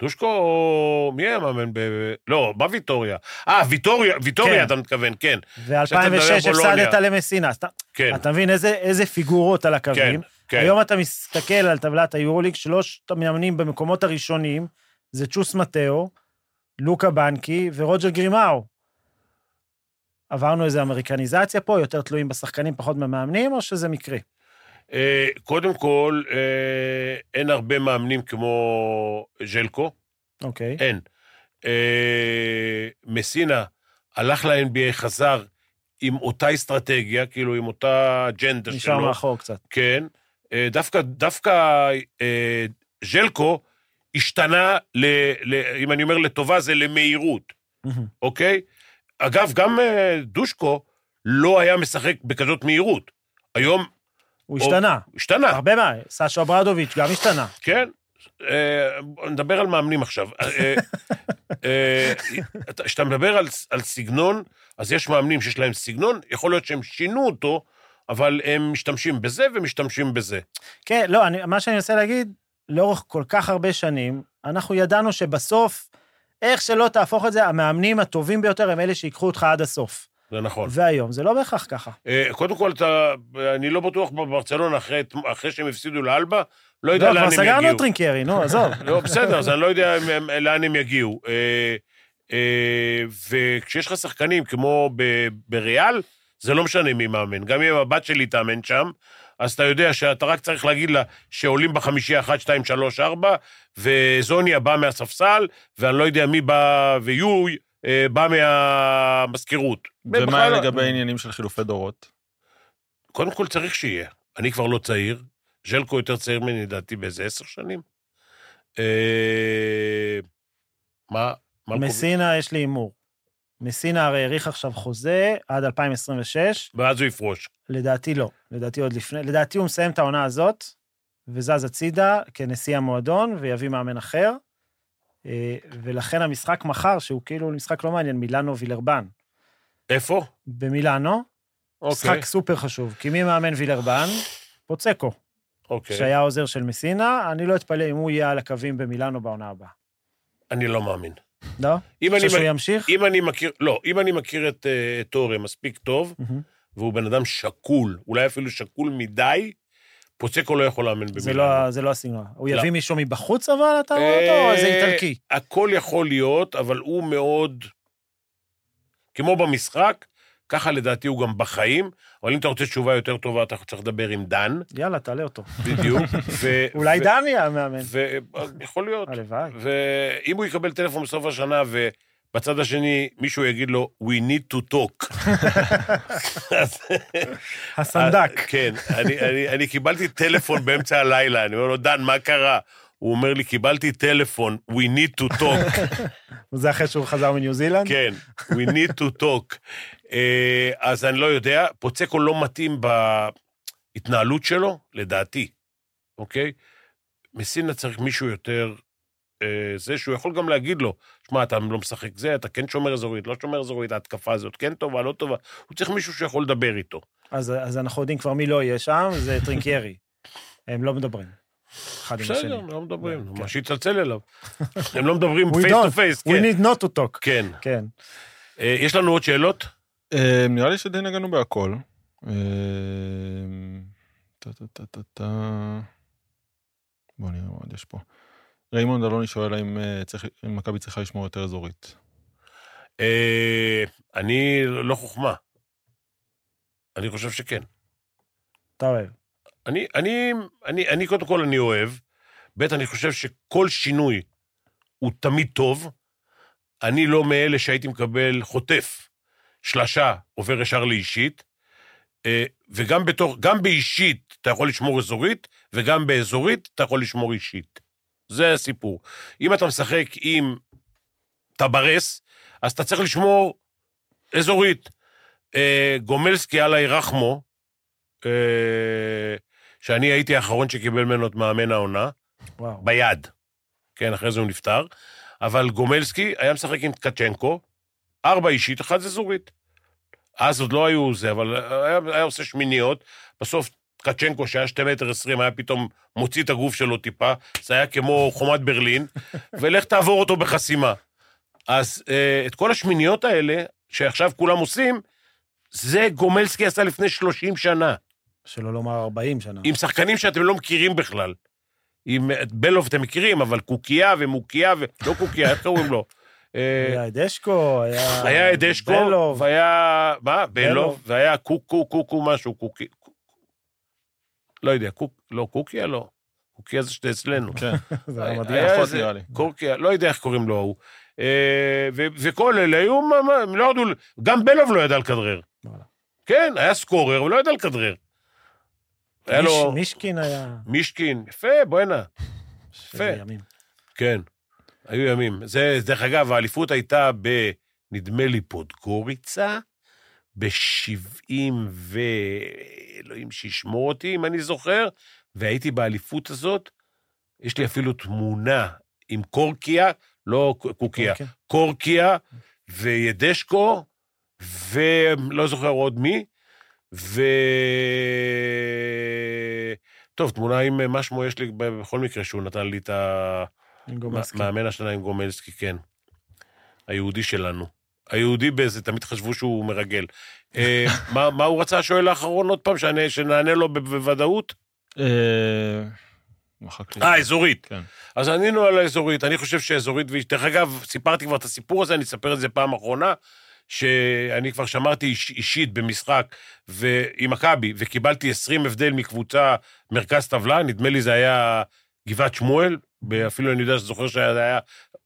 Speaker 2: דושקו, מי היה מאמן ב... לא, מה ויטוריה? אה, ויטוריה,
Speaker 4: כן.
Speaker 2: ויטוריה אתה מתכוון, כן,
Speaker 4: ו-2006
Speaker 2: בולוניה.
Speaker 4: הפסדת למסינה. אז אתה-
Speaker 2: כן,
Speaker 4: אתה מבין איזה- איזה פיגורות על
Speaker 2: כן,
Speaker 4: הקווים.
Speaker 2: כן.
Speaker 4: היום אתה מסתכל על טבלת היורוליג, שלושת המאמנים במקומות הראשונים, זה צ'וס מטאו, לוקה בנקי ורוג'ר גרימאו. עברנו איזו אמריקניזציה פה, יותר תלויים בשחקנים, פחות במאמנים, או שזה מקרי?
Speaker 2: אה, קודם כל, אה, אין הרבה מאמנים כמו ז'לקו,
Speaker 4: אוקיי.
Speaker 2: אין. אה, מסינה הלך ל-NBA, חזר עם אותה אסטרטגיה, כאילו עם אותה אג'נדה
Speaker 4: נשאר
Speaker 2: שלו.
Speaker 4: מאחור קצת.
Speaker 2: כן. אה, דווקא, דווקא אה, ז'לקו השתנה, ל, ל, אם אני אומר לטובה, זה למהירות, אוקיי? אגב, גם אה, דושקו לא היה משחק בכזאת מהירות. היום
Speaker 4: הוא
Speaker 2: או-
Speaker 4: השתנה,
Speaker 2: השתנה,
Speaker 4: הרבה מה, סאשה ברדוביץ' גם השתנה.
Speaker 2: כן? אה, בוא נדבר על מאמנים עכשיו. אה, אה, אתה- כשאתה מדבר על, על סגנון, אז יש מאמנים שיש להם סגנון, יכול להיות שהם שינו אותו, אבל הם משתמשים בזה ומשתמשים בזה.
Speaker 4: כן, לא, אני, מה שאני מנסה להגיד, לאורך כל כך הרבה שנים, אנחנו ידענו שבסוף, איך שלא תהפוך את זה, המאמנים הטובים ביותר הם אלה שיקחו אותך עד הסוף.
Speaker 2: זה נכון.
Speaker 4: והיום זה לא בהכרח ככה.
Speaker 2: אה, קודם כל, אתה, אני לא בטוח בברצלונה, אחרי, את- אחרי שהם הפסידו לאלבה, לא יודע
Speaker 4: לא,
Speaker 2: לאן
Speaker 4: כבר
Speaker 2: הם יגיעו.
Speaker 4: סגרנו את טרינקרי,
Speaker 2: [laughs]
Speaker 4: נו, עזוב.
Speaker 2: לא, בסדר, אז אני לא יודע אם הם- לאן הם יגיעו. אה, אה, וכשיש לך שחקנים כמו ב- בריאל, זה לא משנה מי מאמן. גם אם הבת שלי תאמן שם, אז אתה יודע שאתה רק צריך להגיד לה שעולים בחמישייה 1, 2, 3, 4, וזוניה בא מהספסל, ואני לא יודע מי בא, ויוי אה, בא מהמזכירות.
Speaker 3: ומה
Speaker 2: בכלל-
Speaker 3: לגבי העניינים של חילופי דורות?
Speaker 2: קודם כל צריך שיהיה. אני כבר לא צעיר, ז'לקו יותר צעיר ממני, לדעתי, באיזה עשר שנים. אה, מה? מה קובע?
Speaker 4: מסינה, יש לי הימור. מסינה הרי האריך עכשיו חוזה עד 2026,
Speaker 2: ואז הוא יפרוש.
Speaker 4: לדעתי לא, לדעתי עוד לפני, לדעתי הוא מסיים את העונה הזאת, וזז הצידה כנשיא המועדון, ויביא מאמן אחר. אה, ולכן המשחק מחר, שהוא כאילו משחק לא מעניין, מילאנו וילרבן.
Speaker 2: איפה?
Speaker 4: במילאנו,
Speaker 2: אוקיי,
Speaker 4: משחק סופר חשוב, כי מי מאמן וילרבן? פוצקו,
Speaker 2: אוקיי.
Speaker 4: שהיה העוזר של מסינה, אני לא אתפלא אם הוא יהיה על הקווים במילאנו בעונה הבאה.
Speaker 2: אני לא מאמין.
Speaker 4: לא?
Speaker 2: אם אני
Speaker 4: חושב שהוא
Speaker 2: מ-
Speaker 4: ימשיך?
Speaker 2: אם אני מכיר, לא, אם אני מכיר את אה, את טורי מספיק טוב,
Speaker 4: מהמם.
Speaker 2: והוא בן אדם שקול, אולי אפילו שקול מדי, פוצקו לא יכול לאמן
Speaker 4: זה
Speaker 2: במילה.
Speaker 4: לא- זה לא הסגנון. הוא
Speaker 2: לא. אה,
Speaker 4: יביא מישהו מבחוץ אבל, אתה רואה אותו? או זה איטלקי.
Speaker 2: הכל יכול להיות, אבל הוא מאוד... כמו במשחק, ככה לדעתי הוא גם בחיים, אבל אם אתה רוצה תשובה יותר טובה, אתה צריך לדבר עם דן,
Speaker 4: יאללה, תעלה אותו. [laughs]
Speaker 2: בדיוק. ו-
Speaker 4: אולי
Speaker 2: ו-
Speaker 4: דן יהיה המאמן.
Speaker 2: ו- אה, יכול להיות.
Speaker 4: הלוואי.
Speaker 2: ואם הוא יקבל טלפון בסוף השנה, ובצד השני מישהו יגיד לו, We need to
Speaker 4: [laughs]
Speaker 2: talk. אז-
Speaker 4: הסנדק.
Speaker 2: כן, אני- אני- אני קיבלתי טלפון באמצע הלילה, אני אומר לו, דן, מה קרה? הוא אומר לי, קיבלתי טלפון, We need to talk.
Speaker 4: זה אחרי שהוא חזר מניו זילנד?
Speaker 2: כן, we need to talk. [laughs] אה, אז אני לא יודע, פוצקו לא מתאים בהתנהלות שלו, לדעתי, אוקיי? מסינה צריך מישהו יותר, אה, זה שהוא יכול גם להגיד לו, שמע, אתה לא משחק זה, אתה כן שומר אזורית, לא שומר אזורית, ההתקפה הזאת כן טובה, לא טובה. הוא צריך מישהו שיכול לדבר איתו.
Speaker 4: אז אז אנחנו יודעים כבר מי לא יהיה שם, זה טרינקיירי. הם לא מדברים. אחד עם השני.
Speaker 2: בסדר, לא מדברים,
Speaker 4: כן.
Speaker 2: מה שיצלצל
Speaker 4: [laughs]
Speaker 2: אליו. הם לא מדברים
Speaker 4: We
Speaker 2: פייס טו
Speaker 4: don't.
Speaker 2: פייס,
Speaker 4: We
Speaker 2: כן.
Speaker 4: need not to talk.
Speaker 2: כן.
Speaker 4: כן.
Speaker 2: אה, יש לנו עוד שאלות?
Speaker 3: אה, נראה לי שדי נגענו בהכל. אה, טה, טה, טה, טה, טה. בוא נראה מה עוד יש פה. ריימונד אלוני שואל האם אה, צריך- אם מכבי צריכה לשמור יותר אזורית.
Speaker 2: אה, אני לא חוכמה. אני חושב שכן.
Speaker 4: אתה אוהב.
Speaker 2: אני, אני, אני, אני קודם כל, אני אוהב. ב', אני חושב שכל שינוי הוא תמיד טוב. אני לא מאלה שהייתי מקבל חוטף, שלשה, עובר ישר לאישית. אה, וגם בתוך, גם באישית אתה יכול לשמור אזורית, וגם באזורית אתה יכול לשמור אישית. זה הסיפור. אם אתה משחק עם טברס, אז אתה צריך לשמור אזורית. אה, גומלסקי, אללה ירחמו, אה, שאני הייתי האחרון שקיבל ממנו את מאמן העונה,
Speaker 4: וואו.
Speaker 2: ביד. כן, אחרי זה הוא נפטר. אבל גומלסקי היה משחק עם קצ'נקו, ארבע אישית, אחת אזורית. אז עוד לא היו זה, אבל היה, היה עושה שמיניות. בסוף קצ'נקו, שהיה 2 מטר 20, היה פתאום מוציא את הגוף שלו טיפה, זה היה כמו חומת ברלין, ולך תעבור אותו בחסימה. אז אה, את כל השמיניות האלה, שעכשיו כולם עושים, זה גומלסקי עשה לפני 30 שנה.
Speaker 4: שלא לומר 40 שנה.
Speaker 2: עם שחקנים שאתם לא מכירים בכלל. עם את בלוב אתם מכירים, אבל קוקייה ומוקיה ו... לא קוקייה, איך קוראים לו? אה,
Speaker 4: היה את אשכו, היה...
Speaker 2: היה את אשקו,
Speaker 4: בלוב.
Speaker 2: והיה... מה?
Speaker 4: בלוב.
Speaker 2: בלוב, והיה קוקו, קוקו משהו, קוקי... קוק- לא יודע, קוק... לא, קוקיה לא. קוקיה זה שאתה אצלנו.
Speaker 3: [laughs] כן,
Speaker 4: זה היה
Speaker 2: היה-
Speaker 4: מדהים.
Speaker 2: היה
Speaker 3: פחות
Speaker 2: איזה-
Speaker 3: נראה לי.
Speaker 2: קורקיה, לא יודע איך קוראים לו ההוא. אה, ו- וכל אלה היו, מה- מה, הם לא ידעו, גם בלוב לא ידע לכדרר.
Speaker 4: וואלה.
Speaker 2: כן, היה סקורר, אבל לא ידע לכדרר. היה
Speaker 4: מיש-
Speaker 2: לו
Speaker 4: מישקין היה...
Speaker 2: מישקין, יפה, בואנה.
Speaker 4: שזה ימים.
Speaker 2: כן, היו ימים. זה, דרך אגב, האליפות הייתה ב... נדמה לי פודגוריצה, ב-70 ו... אלוהים שישמור אותי, אם אני זוכר, והייתי באליפות הזאת, יש לי אפילו תמונה עם קורקיה, לא ק- קוקיה,
Speaker 4: אוקיי.
Speaker 2: קורקיה וידשקו, ולא זוכר עוד מי, ו... טוב, תמונה עם מה שמו יש לי בכל מקרה שהוא נתן לי את ה...
Speaker 4: עם גומסקי.
Speaker 2: מאמן השנה עם גומלסקי, כן. היהודי שלנו. היהודי באיזה, תמיד חשבו שהוא מרגל. אה, [laughs] מה, מה הוא רצה, השואל האחרון עוד פעם, שאני, שנענה לו ב- בוודאות?
Speaker 3: אה, מחק לי.
Speaker 2: אה, אזורית.
Speaker 3: כן.
Speaker 2: אז ענינו על האזורית, אני חושב שאזורית, ואיש- דרך אגב, סיפרתי כבר את הסיפור הזה, אני אספר את זה פעם אחרונה, שאני כבר שמרתי איש, אישית במשחק ו, עם מכבי, וקיבלתי 20 הבדל מקבוצה מרכז טבלה, נדמה לי זה היה גבעת שמואל, אפילו אני יודע שזוכר שזה היה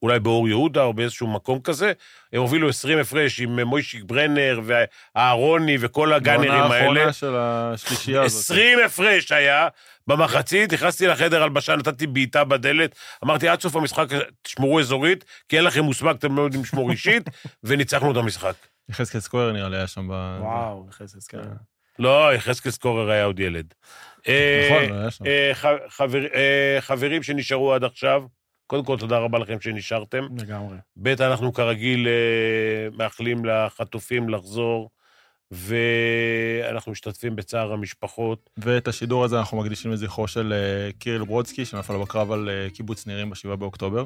Speaker 2: אולי באור יהודה או באיזשהו מקום כזה, הם הובילו 20 הפרש עם מוישיק ברנר ואהרוני וכל הגאנרים האלה.
Speaker 3: העונה האחרונה של השלישייה הזאת.
Speaker 2: 20 הפרש היה במחצית, נכנסתי לחדר הלבשה, נתתי בעיטה בדלת, אמרתי, עד סוף המשחק תשמרו אזורית, כי אין לכם מושג, אתם לא יודעים לשמור אישית, [laughs] וניצחנו את המשחק.
Speaker 3: יחזקאל סקויר נראה לי היה שם ב...
Speaker 4: וואו, חסס, כן.
Speaker 2: לא, יחזקאל סקורר היה עוד ילד. אה,
Speaker 3: נכון, היה שם.
Speaker 2: אה, ח- חבר- אה, חברים שנשארו עד עכשיו, קודם כל, תודה רבה לכם שנשארתם.
Speaker 4: לגמרי.
Speaker 2: ב', אנחנו כרגיל אה, מאחלים לחטופים לחזור, ואנחנו משתתפים בצער המשפחות.
Speaker 3: ואת השידור הזה אנחנו מקדישים לזכרו של אה, קיריל ברודסקי, שנפל בקרב על אה, קיבוץ נירים ב-7 באוקטובר.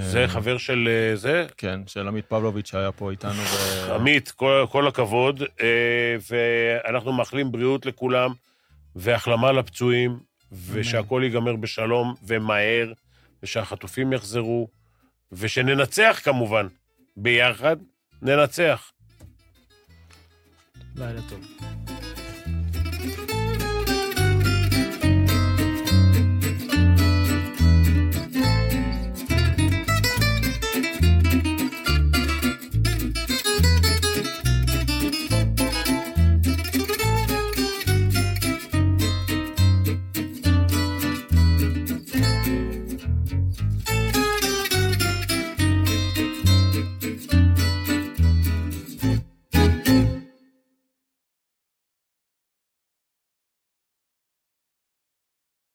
Speaker 2: זה
Speaker 3: אה,
Speaker 2: חבר של אה, זה,
Speaker 3: כן, של עמית פבלוביץ' שהיה פה איתנו. ו-
Speaker 2: עמית, כל, כל הכבוד, אה, ואנחנו מאחלים בריאות לכולם, והחלמה לפצועים, ושהכול ייגמר בשלום ומהר, ושהחטופים יחזרו, ושננצח כמובן, ביחד, ננצח.
Speaker 4: לילה טוב.